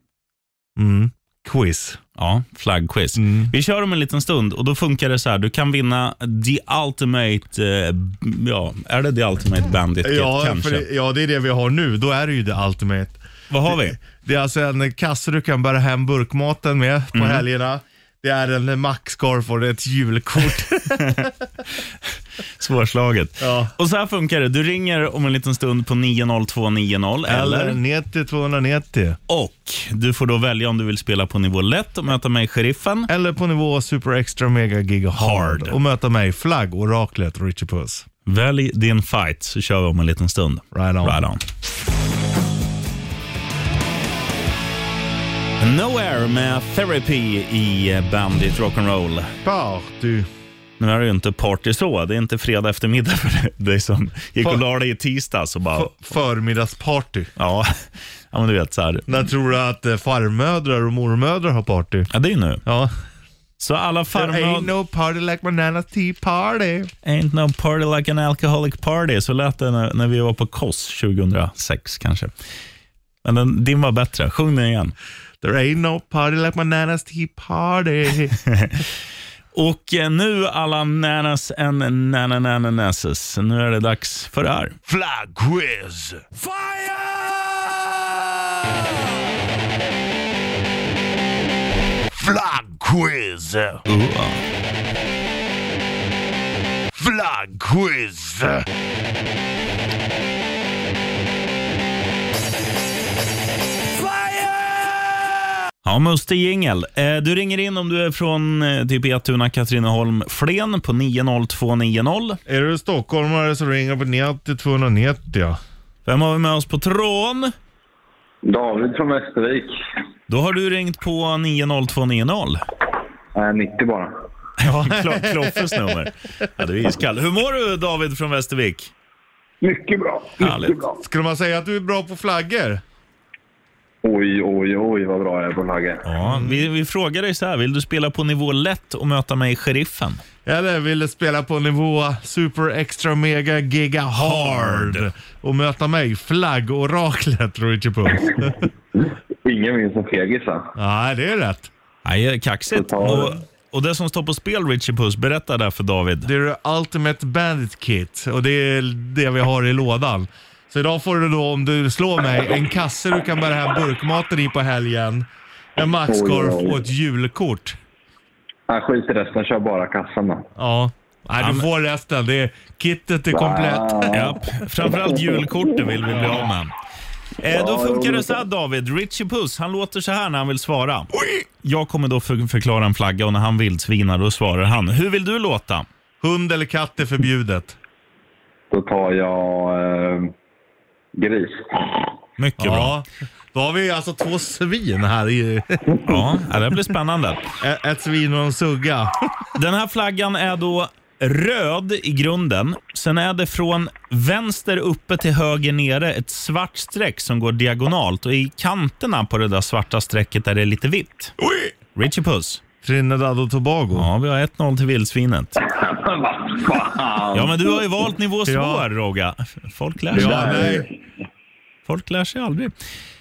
S3: Mm. Quiz.
S2: Ja, flaggquiz.
S3: Mm.
S2: Vi kör om en liten stund och då funkar det så här. Du kan vinna The Ultimate, eh, b- ja, är det The Ultimate Bandit Kit
S3: Ja,
S2: kanske?
S3: för det, ja, det är det vi har nu. Då är det ju det ultimate.
S2: Vad har vi?
S3: Det är alltså en kasse du kan bära hem burkmaten med på helgerna. Det är en maxscarf och det är ett julkort.
S2: Svårslaget.
S3: Ja.
S2: Och så här funkar det. Du ringer om en liten stund på 90290
S3: *laughs* Eller
S2: eller
S3: 90 290.
S2: och du får då välja om du vill spela på nivå lätt och möta mig, sheriffen.
S3: Eller på nivå super extra mega giga hard.
S2: Hard.
S3: Och möta mig, flagg, oraklet och Richie Puss.
S2: Välj din fight så kör vi om en liten stund.
S3: Right on.
S2: Right on. Nowhere med Therapy i eh, Bandit Rock'n'Roll.
S3: Party.
S2: Nu är det ju inte party så. Det är inte fredag eftermiddag för *laughs* dig som gick och la dig i tisdags och bara...
S3: F- förmiddagsparty.
S2: Ja, ja men du vet så här.
S3: När tror du att eh, farmödrar och mormödrar har party?
S2: Ja, det är ju nu.
S3: Ja.
S2: Så alla
S3: There ain't
S2: farmödrar...
S3: no party like my nana's tea party.
S2: Ain't no party like an alcoholic party. Så lät det när, när vi var på Koss 2006 kanske. Men den, din var bättre. Sjung den igen.
S3: There ain't no party like my nana's tea *laughs* party.
S2: Och eh, nu alla nanas and nanananases. Nu är det dags för det här.
S3: Flag quiz. Flag quiz. Flag quiz.
S2: Ja, Muste Jingel. Eh, Du ringer in om du är från eh, typ Etuna, Katrineholm, Flen på 90290.
S3: Är du stockholmare så ringer på 90 290. ja.
S2: Vem har vi med oss på tråden?
S7: David från Västervik.
S2: Då har du ringt på 90290.
S7: Nej, 90 Eh, bara.
S2: Klo- Kloffes nummer. Ja, du är iskall. Hur mår du David från Västervik?
S7: Mycket bra. Mycket
S2: Härligt.
S7: bra.
S3: Skulle man säga att du är bra på flaggor?
S7: Oj, oj, oj vad bra jag är på lager.
S2: Ja, vi, vi frågar dig så här, vill du spela på nivå lätt och möta mig, sheriffen?
S3: Eller vill du spela på nivå super extra mega giga hard och möta mig, flaggoraklet Richie Puss?
S7: Ingen minns en fegis va?
S3: Nej, det är rätt.
S2: Nej, kaxigt.
S7: Total.
S2: Och, och det som står på spel, Richie Puss, berätta där för David.
S3: Det är det Ultimate Bandit Kit och det är det vi har i lådan. Så idag får du då, om du slår mig, en kasse du kan bära hem burkmaten i på helgen, en
S7: Oj, oj,
S3: Maxkorv
S7: oj.
S3: och ett julkort.
S7: Nej, skit i resten. Kör bara kassan då.
S3: Ja. Nej,
S2: Ja,
S3: du
S2: men-
S3: får resten. Det är, kittet är komplett.
S7: Ah.
S2: Ja, framförallt julkortet vill vi bli av med. Eh, då
S7: Ja,
S2: funkar
S7: jo.
S2: det så här David. Richie Puss, han låter så här när han vill svara. Jag kommer då för- förklara en flagga och när han vildsvinar då svarar han. Hur vill du låta?
S3: Hund eller katt är förbjudet.
S7: Då tar jag eh, gris.
S2: Mycket bra.
S3: Ja. Då har vi alltså två svin här. i- *laughs*
S2: Ja, ja, det blir spännande.
S3: Ett- Ett svin och en sugga.
S2: Den här flaggan är då röd i grunden. Sen är det från vänster uppe till höger nere ett svart streck som går diagonalt och i kanterna på det där svarta strecket är det lite vitt. Richie Puss.
S3: Trinidad och Tobago.
S2: Ja, vi har 1-0 till vildsvinet.
S7: Vad fan!
S2: Ja, men du har ju valt nivå svår,
S3: Ja.
S2: Rogga. Folk lär sig,
S3: Ja,
S7: Där.
S3: nej.
S2: Folk lär sig aldrig.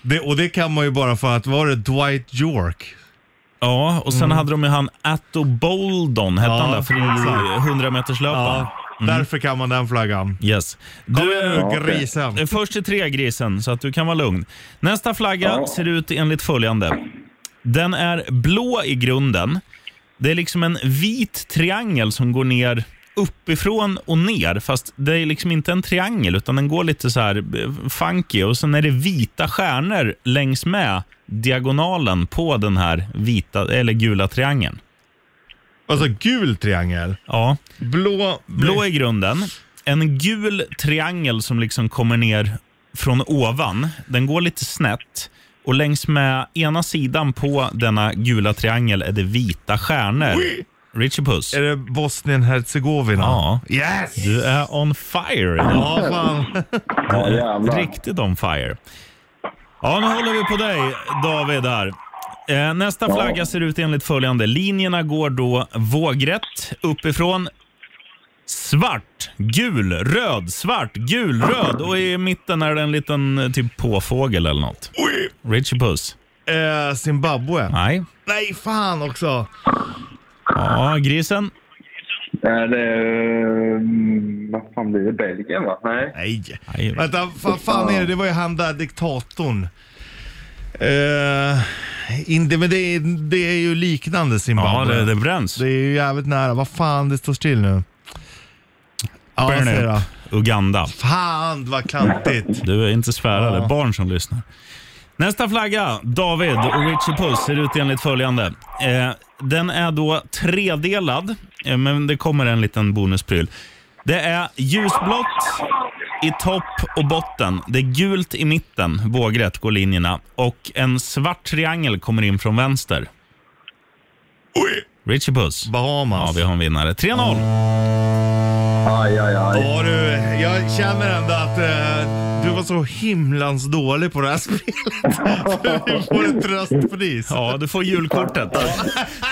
S3: Det, och det kan man ju bara för att, var det Dwight York?
S2: Ja, och sen hade de ju han Atto Boldon, hette
S3: Mm. Ja,
S2: han där, för 100 meters
S3: Ja, därför kan man den flaggan.
S2: Yes.
S3: Kom
S2: Du,
S3: igen nu
S7: okej.
S3: grisen.
S2: Eh, Först till tre grisen, så att du kan vara lugn. Nästa flagga
S7: Ja.
S2: ser ut enligt följande. Den är blå i grunden. Det är liksom en vit triangel som går ner uppifrån och ner, fast det är liksom inte en triangel, utan den går lite så här eh, funky. Och sen är det vita stjärnor längs med diagonalen på den här vita, eller gula triangeln.
S3: Alltså gul triangel.
S2: Ja.
S3: Blå...
S2: Blå i grunden. En gul triangel som liksom kommer ner från ovan. Den går lite snett. Och längs med ena sidan på denna gula triangel är det vita stjärnor. Richie Puss.
S3: Är det bosnien herzegovina
S2: Ja.
S3: Yes!
S2: Du är on fire idag.
S3: Ja, fan. *laughs*
S7: Ja, jävlar.
S2: Eh, Riktigt on fire. Ja, nu håller vi på dig David här. Eh, Nästa flagga ser ut enligt följande. Linjerna går då vågrätt uppifrån. Svart, gul, röd, svart, gul, röd och i mitten är det en liten eh, typ påfågel eller något. Richie Puss.
S3: Eh, Zimbabwe.
S2: Nej.
S3: Nej, fan också.
S2: Ja, grisen.
S7: Är det... mm, Vad fan blir det? Belgien, va? Nej.
S3: Nej.
S2: Nej.
S3: Vänta, vad fan är det? Det var ju han där diktatorn. Eh, inte, men det, är- det är ju liknande
S2: Ja,
S3: Zimbabwe.
S2: det, det bränns.
S3: Det är ju jävligt nära. Vad fan, det står still nu. Ja, jag ser det.
S2: Uganda.
S3: Fan vad klantigt.
S2: Du är inte svärare,
S3: Ja.
S2: barn som lyssnar. Nästa flagga, David och Richie Puss, ser ut enligt följande. Eh, den är då tredelad, eh, men det kommer en liten bonuspryl. Det är ljusblått i topp och botten. Det är gult i mitten, vågrätt går linjerna. Och en svart triangel kommer in från vänster. Richie Puss. Ja,
S3: Bahamas.
S2: vi har en vinnare. 3-0.
S7: Aj, aj, aj.
S3: Ja du, jag känner ändå att eh, du var så himlans dålig på det här spelet. *laughs* du får ett tröstpris.
S2: Ja, du får julkortet.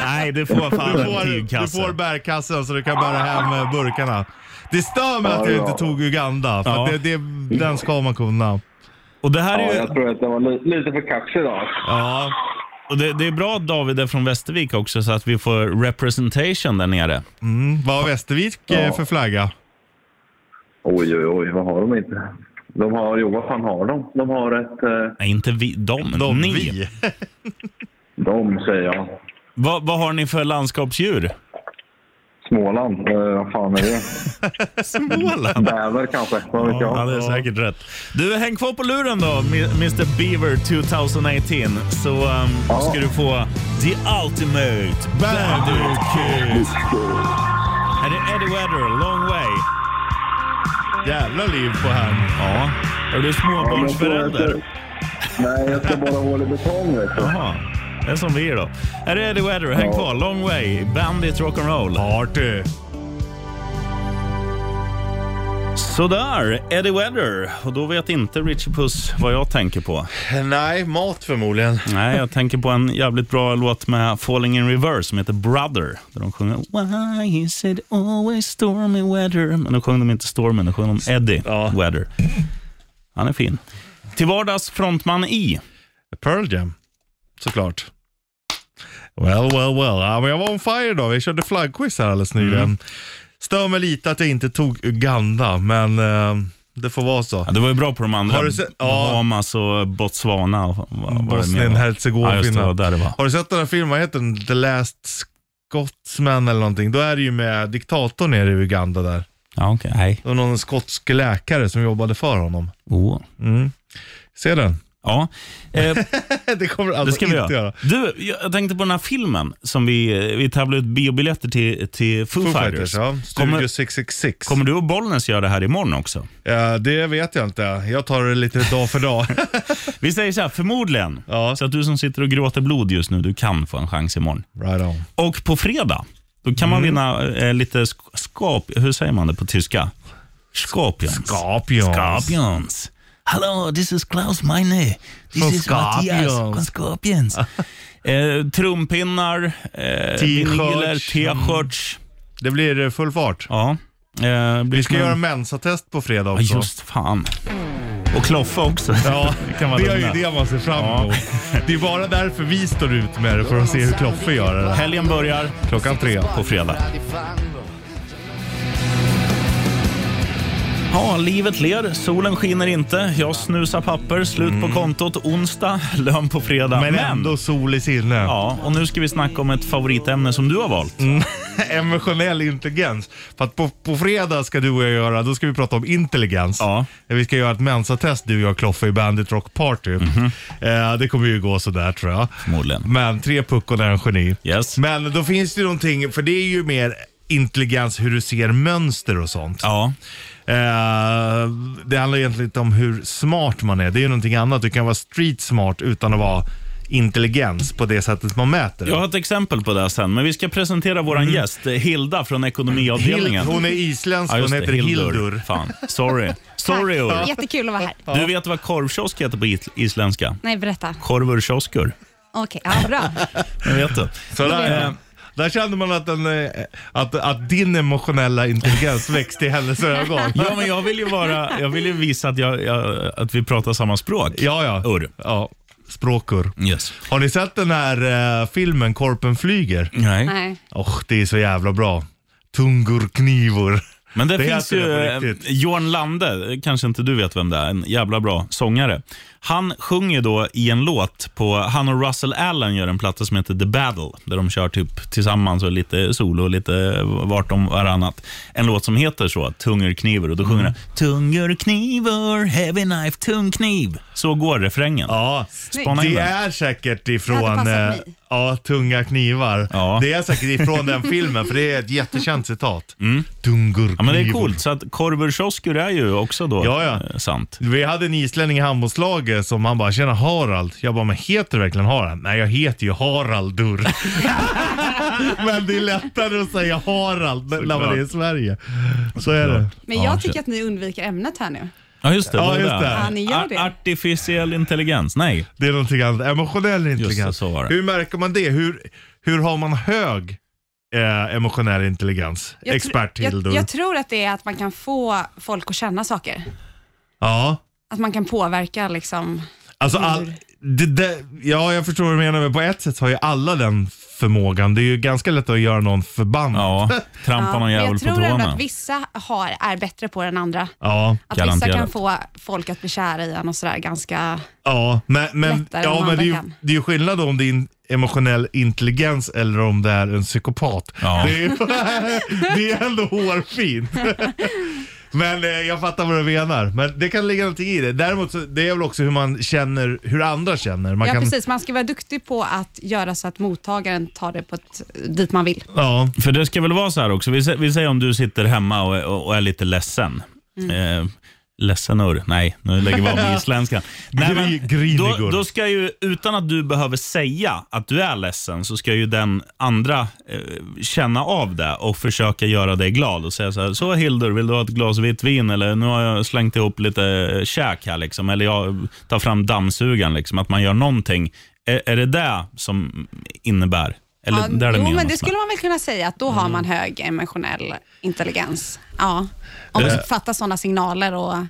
S2: Nej, du får
S3: Du
S2: fan en
S3: får, du
S2: tygkasse.
S3: får bärkassen så du kan bära hem eh, burkarna. Det stör mig att jag inte tog Uganda, för
S2: Ja.
S3: att det, det, den ska man kunna.
S2: Och det här
S7: Ja,
S2: är ju...
S7: jag tror att det var li- lite för kaxig idag.
S3: Ja,
S2: Och det, det är bra att David är från Västervik också så att vi får representation där nere.
S3: mm, vad har Västervik eh, för flagga?
S7: Oj, oj, oj. Vad har de inte? De har... Jo, vad fan har de? De har ett... Eh,
S2: Nej, inte vi. De.
S3: De,
S2: ni.
S3: vi. *laughs*
S7: de, säger jag.
S2: Vad- vad har ni för landskapsdjur?
S7: Småland. Eh, vad fan är det?
S2: *laughs* Småland.
S7: Bäver kanske? Vad vet
S2: Ja,
S7: jag?
S2: det är säkert rätt. Du, häng kvar på luren då, Mi- Mr Beaver 2018. Så um,
S7: Ja.
S2: ska du få The Ultimate Bandit Kid. Är det Eddie Weather, Long Way?
S3: Jävla liv på här.
S2: Ja. Är du
S7: Ja, men jag tror att-
S2: småbarnsförälder?
S7: Nej, jag ska bara hål i betong vet du.
S2: Jaha. Det är som vi är då. Är det Eddie Weather? Häng
S7: Ja.
S2: kvar. Long Way, Bandit Rock'n'Roll.
S3: Party.
S2: Sådär, Eddie Weather. Och då vet inte Richie Puss vad jag tänker på.
S3: Nej, mat förmodligen.
S2: Nej, jag tänker på en jävligt bra låt med Falling in Reverse som heter Brother. Där de sjunger Why is it always stormy weather? Men då sjöng de inte stormen, då sjöng de Eddie
S3: Ja.
S2: Weather. Han är fin. Till vardags frontman i.
S3: Pearl Jam, såklart. Well, well, well. Ja, men jag var on fire idag. Vi körde flaggquiz här alldeles nyligen.
S2: Mm.
S3: Stör mig lite att jag inte tog Uganda, men eh, det får vara så.
S2: Ja, det var ju bra på de andra.
S3: Har du sett- ja.
S2: Bahamas och Botswana. och vad- vad det mer var. Ja, just det, det var
S3: Bosnien-Hercegovina.
S2: där det var.
S3: Har du sett den här filmen, vad heter den? The Last Scotsman eller någonting. Då är det ju med diktatorn nere i Uganda där.
S2: Ja, okej. Nej.
S3: Det var någon skotsk läkare som jobbade för honom.
S2: Oh.
S3: Ser den? *laughs*
S2: Ja, eh,
S3: det kommer du
S2: det
S3: alltså
S2: ska vi göra.
S3: inte göra.
S2: Du, jag tänkte på den här filmen som vi, vi tävlade ut biobiljetter till, till Foo,
S3: Foo
S2: Fighters.
S3: Fighters, ja. Studio
S2: kommer,
S3: 666.
S2: kommer du och Bollnäs göra det här imorgon också?
S3: Ja, det vet jag inte. Jag tar det lite dag
S2: *laughs*
S3: för dag.
S2: Vi säger så här, förmodligen.
S3: Ja.
S2: Så att du som sitter och gråter blod just nu, du kan få en chans imorgon.
S3: right on.
S2: Och på fredag, då kan
S3: Mm.
S2: man vinna eh, lite sk- skap... Hur säger man det på tyska? Skorpions.
S3: Scorpions.
S2: Scorpions. Hello, this is Klaus Meine. This
S3: Från
S2: is Matthias
S3: Scorpions.
S2: från Scorpions. *laughs* eh, trumpinnar, eh,
S3: T-shirts.
S2: vinyler, t-shirts.
S3: Det blir eh, full fart.
S2: Ja. Eh,
S3: Vi ska göra mensatest på fredag
S2: Ja,
S3: också.
S2: just fan. Och kloffa också.
S3: Ja,
S2: kan man
S3: det är ju
S2: lugna.
S3: det man ser fram emot. Det är bara därför vi står ut med det, för att se hur Kloffe gör det.
S2: Helgen börjar
S3: Klockan tre.
S2: på fredag. Ja, livet ler, solen skiner inte, jag snusar papper, slut på kontot, onsdag, lön på fredag.
S3: Men ändå sol i sinne.
S2: Ja, och nu ska vi snacka om ett favoritämne som du har valt.
S3: *laughs* Mm. Emotionell intelligens. För att på, på fredag ska du och jag göra, då ska vi prata om intelligens.
S2: Ja.
S3: Vi ska göra ett mensatest du och jag Kloffe i Bandit Rock Party. eh, det kommer ju gå sådär tror jag.
S2: Mhm. Förmodligen.
S3: Men tre puckon är en geni.
S2: Yes.
S3: Men då finns det ju någonting, för det är ju mer intelligens hur du ser mönster och sånt.
S2: Ja,
S3: Eh, det handlar egentligen inte om hur smart man är. Det är ju någonting annat. Du kan vara street smart utan att vara intelligens på det sättet man mäter.
S2: jag har ett exempel på det här sen, men vi ska presentera vår gäst, eh, Hilda från
S3: Hild,
S2: ekonomiavdelningen.
S3: Mm. hon är
S2: Ja,
S3: isländsk, hon
S2: just det,
S3: heter Hildur.
S2: Fan, sorry. Sorry, Ur.
S8: Jättekul att vara här.
S2: Du vet vad korvkiosk heter på is- isländska?
S8: Nej, berätta.
S2: Korvurkioskur.
S8: Okej, ja, bra.
S2: Jag vet det.
S3: Så där,
S2: Eh,
S3: där kände man att, den, eh, att, att din
S2: *laughs*
S3: emotionella intelligens växte i hennes ögon.
S2: Ja, men jag vill ju, vara, jag vill ju visa att, jag, jag, att vi pratar samma språk.
S3: Ja, ja.
S2: Ur.
S3: ja. Språkur.
S2: Yes.
S3: Har ni sett den här eh, filmen Korpen flyger?
S2: Nej.
S8: Nej.
S3: Och det är så jävla bra. Tungur knivor.
S2: Men det,
S3: Det
S2: finns
S3: heter
S2: ju
S3: det på
S2: eh,
S3: riktigt.
S2: Johan Lande, eh, kanske inte du vet vem det är, en jävla bra sångare. Han sjunger då i en låt på, han och Russell Allen gör en platta som heter The Battle, där de kör typ tillsammans och lite solo och lite vart om varannat. En låt som heter så, Tungor kniver, och då sjunger han Tungor kniver, heavy knife, tung kniv. Så går refrängen.
S3: Ja,
S2: Spana in
S3: det
S2: den.
S3: är säkert
S8: Det hade
S3: ifrån eh,
S8: passat mig.
S3: ja, Tunga knivar.
S2: Ja.
S3: Det är säkert ifrån den filmen för det är ett
S2: *laughs*
S3: jättekänt citat. Tungur
S2: Mm. Ja, men det är
S3: knivor.
S2: coolt. Så att korvurkioskur är ju också då
S3: Ja, ja.
S2: eh, sant.
S3: Vi hade en islänning i handbollslaget som han bara “Tjena Harald”. Jag bara “Men heter du verkligen Harald?” “Nej, jag heter ju Haraldur”. *laughs* men det är lättare att säga Harald när när man är i Sverige. Så är det.
S8: Men jag tycker att ni undviker ämnet här nu.
S2: Ja, just det.
S3: Ja,
S2: var
S3: just det.
S8: Ja, ni gör det.
S2: Ar- artificiell intelligens. Nej.
S3: Det är någonting annat. Emotionell
S2: Just det,
S3: intelligens.
S2: så var det.
S3: Hur märker man det? Hur, hur har man hög eh, emotionell intelligens?
S8: Jag tr-
S3: Expert Hildur.
S8: jag, jag tror att det är att man kan få folk att känna saker.
S3: Ja,
S8: Att man kan påverka liksom.
S3: alltså all, det, det, ja, jag förstår vad du menar. Men på ett sätt har ju alla den förmågan. Det är ju ganska lätt att göra någon förbannad.
S2: Ja, trampa
S8: Ja,
S2: någon
S8: men
S2: jävel
S8: jag
S2: på
S8: tror ändå
S2: tårna.
S8: att vissa har, är bättre på det än andra.
S3: Ja,
S8: Att
S2: Garanterat.
S8: vissa kan få folk att bli kära i en och sådär ganska...
S3: ja, men, men,
S8: Lättare
S3: ja,
S8: än
S3: men det, är ju,
S8: andra kan.
S3: det är ju skillnad om det är in, emotionell intelligens eller om det är en psykopat.
S2: Ja.
S3: Det, är, ju- *laughs* det är ändå
S8: *laughs*
S3: hårfint. Men eh, jag fattar vad du menar. Men det kan ligga någonting i det. Däremot så, det är väl också hur man känner, hur andra känner. Man
S8: Ja,
S3: kan,
S8: precis. Man ska vara duktig på att göra så att mottagaren tar det på ett, dit man vill.
S3: Ja,
S2: För det ska väl vara så här också. Vi, sä- vi säger om du sitter hemma och, och, och är lite ledsen.
S8: Mm.
S2: Eh, ledsen ur. Nej, nu lägger vi av
S8: *laughs*
S2: med isländskan. Nej,
S3: Gri- grinigur.
S2: då, då ska ju, utan att du behöver säga att du är ledsen, så ska ju den andra eh, känna av det och försöka göra dig glad och säga så här, så Hildur, vill du ha ett glas vitt vin? Eller nu har jag slängt ihop lite eh, käk här liksom. Eller jag tar fram dammsugaren liksom. Att man gör någonting. Är, är det det som innebär Eller
S8: Ja,
S2: där är med
S8: jo, men det
S2: någonstans.
S8: skulle man väl kunna säga att då har man
S3: Mm.
S8: hög emotionell intelligens. Ja, om man fattar sådana signaler och
S3: Mm.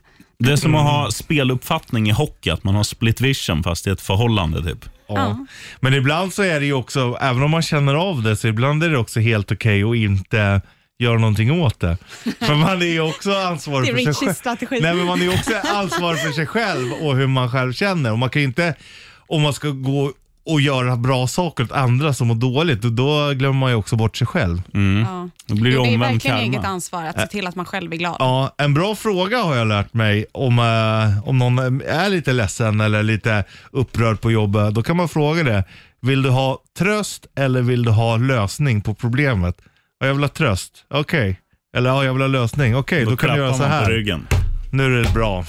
S2: Det är som att ha speluppfattning i hockey, att man har split vision fast i ett förhållande. typ.
S3: Ja. Men ibland så är det ju också, även om man känner av det, så ibland är det också helt okej att inte göra någonting åt
S8: *laughs*
S3: det. För man är ju också ansvarig
S8: Det
S3: för
S8: är
S3: sig
S8: Richies
S3: själv.
S8: strategi.
S3: Nej, men man är ju också ansvarig för sig själv och hur man själv känner. Och man kan ju inte, om man ska gå och göra bra saker åt andra som mår dåligt, och då glömmer man ju också bort sig själv.
S8: ja.
S2: Då blir det
S8: Jo, det är
S2: omvänd
S8: verkligen
S2: karma.
S8: eget ansvar att se till att man själv är glad.
S3: Ja, en bra fråga har jag lärt mig om, eh, om någon är lite ledsen eller lite upprörd på jobbet. Då kan man fråga det. Vill du ha tröst eller vill du ha lösning på problemet? Ja, jag vill ha tröst. Okej. Eller ja, jag vill ha lösning. Okej, då, kan du
S2: klappar
S3: göra så
S2: man På
S3: här.
S2: ryggen.
S3: Nu är det bra.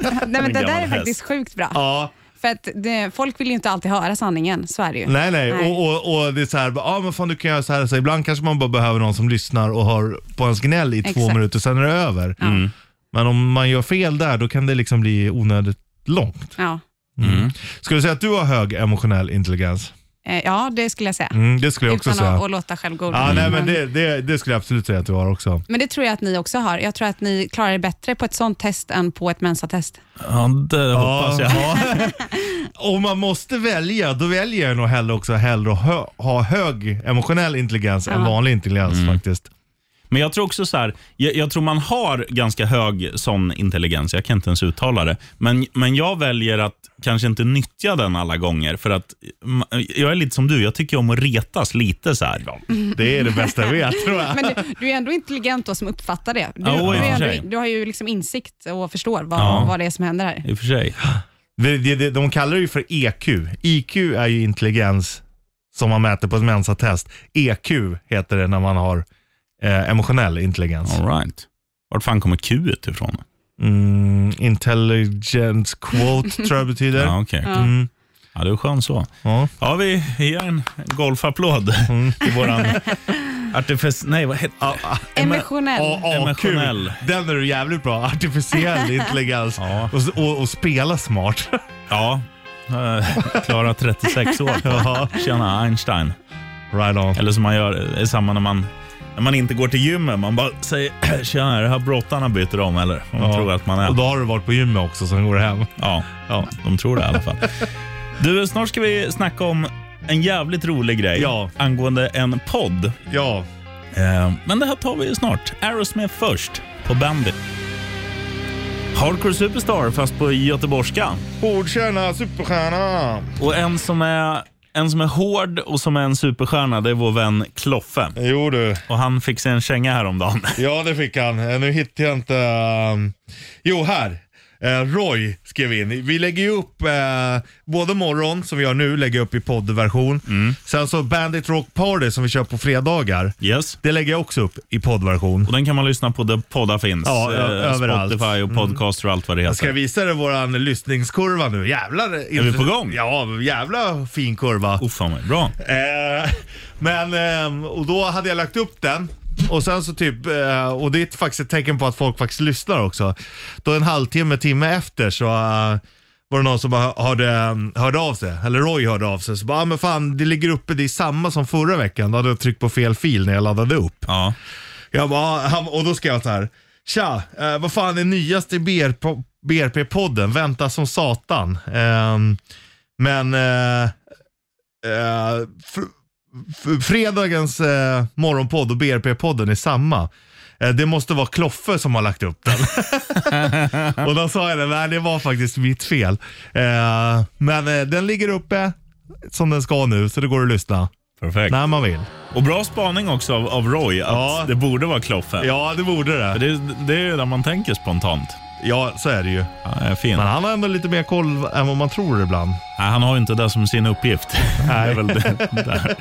S8: Nej, men det
S2: gammal
S8: där är
S2: häst.
S8: faktiskt sjukt bra.
S3: ja,
S8: För att det, folk vill ju inte alltid höra sanningen, så är det
S3: *laughs*
S8: ju.
S3: nej, nej.
S8: Nej.
S3: Och, och, och det är så här, ja men fan du kan göra så här. Så ibland kanske man bara behöver någon som lyssnar och hör på ens gnäll i två
S8: Exakt.
S3: minuter, sen är det över. Men om man gör fel där, då kan det liksom bli onödigt långt.
S8: Ja.
S2: Mm.
S3: Mm. Skulle du säga att du har hög emotionell intelligens?
S8: Eh, ja, det skulle jag säga.
S3: Mm, det skulle jag också
S8: Utan
S3: säga.
S8: att, att låta självgod.
S3: Ja, nej, men det, det, det skulle jag absolut säga att du har också.
S8: men det tror jag att ni också har. Jag tror att ni klarar er bättre på ett sånt test än på ett mensatest.
S2: Ja, det hoppas jag.
S3: Om man måste välja, då väljer jag nog hellre också hellre att hö, ha hög emotionell intelligens än vanlig intelligens
S2: Mm.
S3: faktiskt.
S2: Men jag tror också så här, jag, jag tror man har ganska hög sån intelligens, jag kan inte ens uttala det. Men, men jag väljer att kanske inte nyttja den alla gånger, för att mm, jag är lite som du, jag tycker om att retas lite så här.
S3: Det är det bästa jag vet tror jag.
S8: Men du, du är ändå intelligent då som uppfattar det. Du,
S2: Ja, i och
S8: du,
S2: för
S8: är
S2: sig.
S8: ändå, du har ju liksom insikt och förstår vad,
S2: Ja.
S8: vad det är som händer här.
S2: I och för sig.
S3: Det, det, det, de kallar det ju för E EQ. IQ är ju intelligens som man mäter på ett mensatest. EQ heter det när man har eh, emotionell intelligens.
S2: All right. Vart fan kommer Q ifrån?
S3: Mm, intelligence quote tror jag betyder.
S2: Ja, okej.
S3: Mm.
S2: Ja, du är skön så.
S3: Ja.
S2: Ja, vi ger en golfapplåd till våran artific... Nej, vad heter det?
S8: Emotionell.
S3: Ja, AQ.
S2: Emotionell.
S3: Den är du jävligt bra. Artificiell intelligens.
S2: Ja.
S3: Och, s- och, och spela smart. *laughs*
S2: Ja. eh, Klara 36
S3: *laughs*
S2: år. Tjena Einstein.
S3: Right on.
S2: Eller som man gör, det är samma när man, när man inte går till gymmet. Man bara säger *clears throat* “Tjena, är det här brottarna byter om eller?” De
S3: Ja.
S2: tror att man
S3: Och
S2: är...
S3: då har du varit på gymmet också, sen går du hem.
S2: Ja,
S3: Ja.
S2: de tror det i alla fall. Du, snart ska vi snacka om en jävligt rolig grej
S3: Ja.
S2: angående en podd.
S3: ja.
S2: Eh, Men det här tar vi snart. Aerosmith först på Bandit. Hardcore Superstar fast på göteborgska.
S3: Hårdstjärna, superstjärna.
S2: Och en som är en som är hård och som är en superstjärna, det är vår vän Kloffe.
S3: Jo du.
S2: Och han fick sig en känga
S3: *laughs*
S2: häromdagen.
S3: Ja, det fick han. Eh, Nu hittar jag inte... ehm, Jo, här. Eh, Roy skrev in. Vi lägger ju upp eh, både morgon, som vi gör nu, lägger jag upp i poddversion. Sen så Bandit Rock Party som vi kör på fredagar.
S2: Yes.
S3: Det lägger jag också upp i poddversion.
S2: Och den kan man lyssna på där poddar finns.
S3: Ja,
S2: Eh,
S3: ö- överallt.
S2: Spotify och podcaster och allt vad det
S3: Jag ska
S2: heter.
S3: visa dig våran lyssningskurva nu. Jävlar. Är
S2: vi på gång?
S3: Ja, jävla fin kurva.
S2: Oh, fan vad bra.
S3: Eh, men, ehm, och då hade jag lagt upp den. Och sen så typ, eh, och det är faktiskt ett tecken på att folk faktiskt lyssnar också. Då en halvtimme, timme efter så eh, var det någon som bara hörde, ehm, hörde av sig, eller Roy hörde av sig. Så bara, ah, men fan det ligger uppe, det är samma som förra veckan. Då hade jag tryckt på fel fil när jag laddade upp.
S2: Ja.
S3: Jag bara, han, och då skrev jag så här. Tja, eh, vad fan är nyast i BRP, BRP-podden? Vänta som satan. Ehm, men eh, eh, fr- f- fredagens eh, morgonpodd och BRP-podden är samma. Eh, det måste vara Kloffe som har lagt upp den. *laughs* och då sa jag det, nej det var faktiskt mitt fel. Eh, men eh, den ligger uppe som den ska nu, så det går att lyssna
S2: Perfekt.
S3: när man vill.
S2: Och bra spaning också av, av Roy, att
S3: Ja.
S2: det borde vara Kloffe.
S3: Ja, det borde det.
S2: Det, det är ju där man tänker spontant.
S3: Ja, så är det ju.
S2: Ja, fint.
S3: Men han har ändå lite mer koll än vad man tror ibland.
S2: Nej, han har ju inte det som sin uppgift. Det är väl det, där.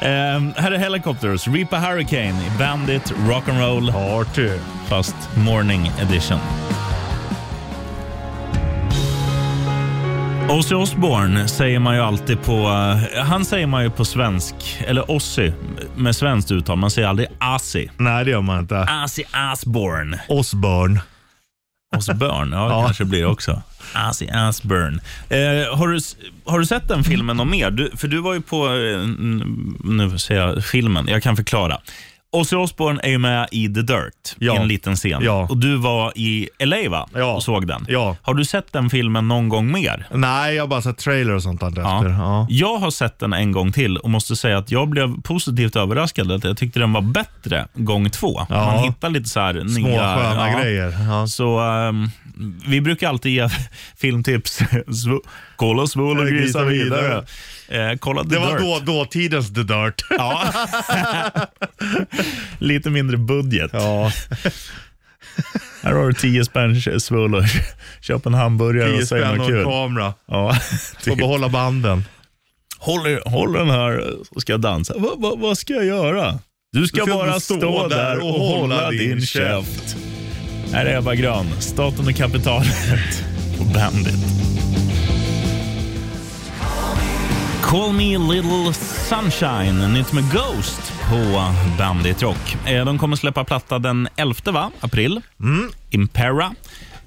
S2: Ehm, här är Helicopters, Reaper Hurricane, i Bandit, Rock'n'Roll,
S3: Artur.
S2: fast Morning Edition. Ozzy Osbourne säger man ju alltid på... eh, han säger man ju på svensk, eller Ozzy med svenskt uttal. Man säger aldrig Ozzy.
S3: Nej, det gör man inte.
S2: Ozzy Osbourne.
S3: Osborn. *laughs*
S2: Osbourne, ja, det kanske blir det också. Ozzy Asburn. Eh, har, du, s- har du sett den filmen någon mer? Du, för du var ju på, eh, n- nu säger jag filmen, jag kan förklara. Ozzy Osbourne är ju med i The Dirt,
S3: Ja.
S2: i en liten scen.
S3: Ja.
S2: Och du var i LA va?
S3: Ja.
S2: och såg den.
S3: Ja.
S2: Har du sett den filmen någon gång mer?
S3: Nej, jag har bara sett trailer och sånt där efter. Ja.
S2: Jag har sett den en gång till och måste säga att jag blev positivt överraskad. Att jag tyckte den var bättre gång två.
S3: Ja.
S2: Man hittar lite så här
S3: Små
S2: nya...
S3: sköna
S2: ja.
S3: grejer. Ja.
S2: Så ehm, vi brukar alltid ge *laughs* filmtips. Svo- kolla Svol och
S3: Eh,
S2: grisa
S3: grisa
S2: vidare. Eh, kolla The
S3: Det var
S2: Dirt.
S3: då, dåtidens The Dirt. *laughs*
S2: Ja. Lite mindre budget.
S3: Ja.
S2: Här har du 10 spänn Svol och *laughs* köp en hamburgare
S3: Tio
S2: och säg
S3: spänn
S2: något
S3: och
S2: kul.
S3: en kamera.
S2: Ja, *laughs*
S3: Får
S2: typ.
S3: behålla banden.
S2: håll, håll den här så ska jag dansa. Va, va, vad ska jag göra? Du ska,
S3: Du ska
S2: bara
S3: inte
S2: stå, där och hålla din käft. Här är Ebba Grön, Staten och kapitalet på Bandit. Call Me Little Sunshine, nytt med Ghost på Bandit Rock. Eh, De kommer släppa platta den 11 va? april,
S3: Mm.
S2: Impera.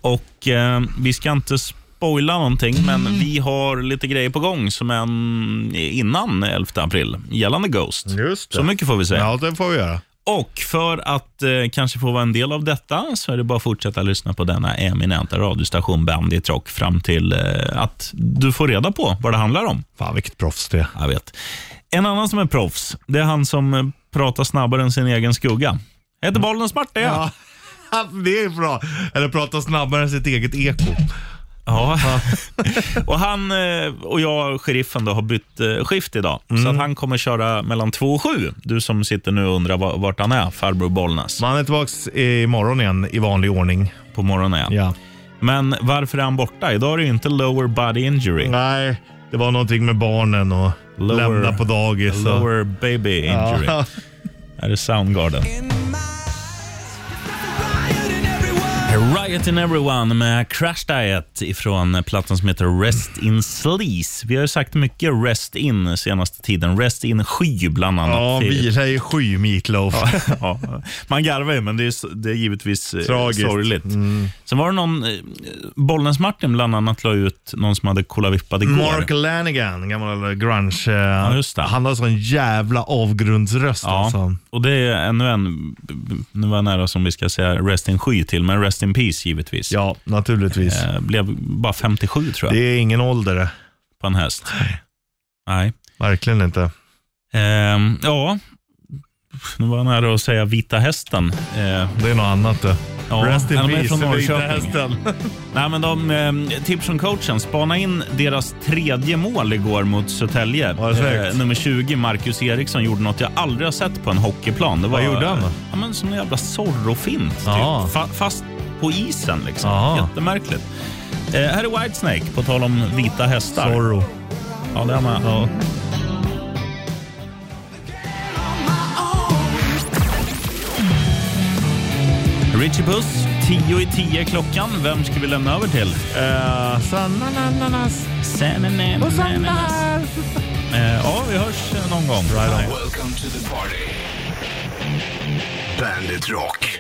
S2: Och eh, Vi ska inte spoila någonting,
S3: Mm.
S2: men vi har lite grejer på gång som är en- innan 11 april gällande Ghost.
S3: Just det.
S2: Så mycket får vi säga.
S3: Ja, det får vi göra.
S2: Och för att eh, kanske få vara en del av detta så är det bara att fortsätta lyssna på denna eminenta radiostation Bandit Rock fram till eh, att du får reda på vad det handlar om.
S3: Fan, vilket proffs det är.
S2: Jag vet. En annan som är proffs, det är han som eh, pratar snabbare än sin egen skugga. Heter bollen smart det? Ja.
S3: *laughs* Mm. Ja. Det är bra. Eller prata snabbare än sitt eget eko.
S2: ja. *laughs* och han eh, och jag, sheriffen, då, har bytt eh, skift idag. Så att
S3: Mm.
S2: han kommer köra mellan 2 och 7. Du som sitter nu och undrar va- vart han är, farbror Bollnäs.
S3: Man är tillbaks imorgon igen i vanlig ordning.
S2: På morgonen är han.
S3: Ja.
S2: Men varför är han borta? Idag är det ju inte lower body injury.
S3: Nej, det var någonting med barnen och
S2: Lower-
S3: lämna på dagis. och-
S2: Lower baby injury.
S3: Ja.
S2: Här är Soundgarden. Riot in everyone med Crash Diet ifrån plattan som heter Rest in Sleaze. Vi har ju sagt mycket Rest in senaste tiden. Rest in sky bland annat.
S3: Ja,
S2: Det är-
S3: vila i sky Meatloaf.
S2: *laughs* ja. Man garvar ju, men det är, s- det är givetvis eh,
S3: Tragiskt. Mm.
S2: sorgligt. Sen var det någon, eh, Bollnäs-Martin bland annat la ut någon som hade kollavippat igår.
S3: Mark Lanigan, gammal grunge. eh,
S2: just det.
S3: Han har sån jävla avgrundsröst
S2: Ja,
S3: alltså.
S2: och det är ännu en, nu var jag nära som vi ska säga Rest in sky till, men Rest in peace givetvis.
S3: Ja, naturligtvis.
S2: Eh, Blev bara 57 tror jag,
S3: Det är ingen ålder det.
S2: på en häst. Nej.
S3: Verkligen inte.
S2: Ehm, ja, nu var jag nära att säga Vita hästen. Eh,
S3: Det är något annat det.
S2: ja,
S3: Rest in
S2: de är
S3: peace,
S2: från
S3: det är inte
S2: Norrköping. Nej, men de, eh, tips från coachen, spana in deras tredje mål igår mot Södertälje. Eh,
S3: Ja, exakt.
S2: nummer 20, Marcus Eriksson, gjorde något jag aldrig har sett på en hockeyplan. Det var,
S3: gjorde han då?
S2: Ja, men som en jävla zorrofint, typ.
S3: Ja.
S2: Fa- fast på isen liksom.
S3: Ja.
S2: Jättemärkligt. Eh, här är Whitesnake, på tal om vita hästar.
S3: Zorro.
S2: Ja, det är med. Richie Puss, 10 i 10 klockan. Vem ska vi lämna över till?
S3: Eh, Sanna Nananas.
S2: Eh, Ja, vi hörs eh, någon gång.
S1: Welcome to the party. Bandit Rock.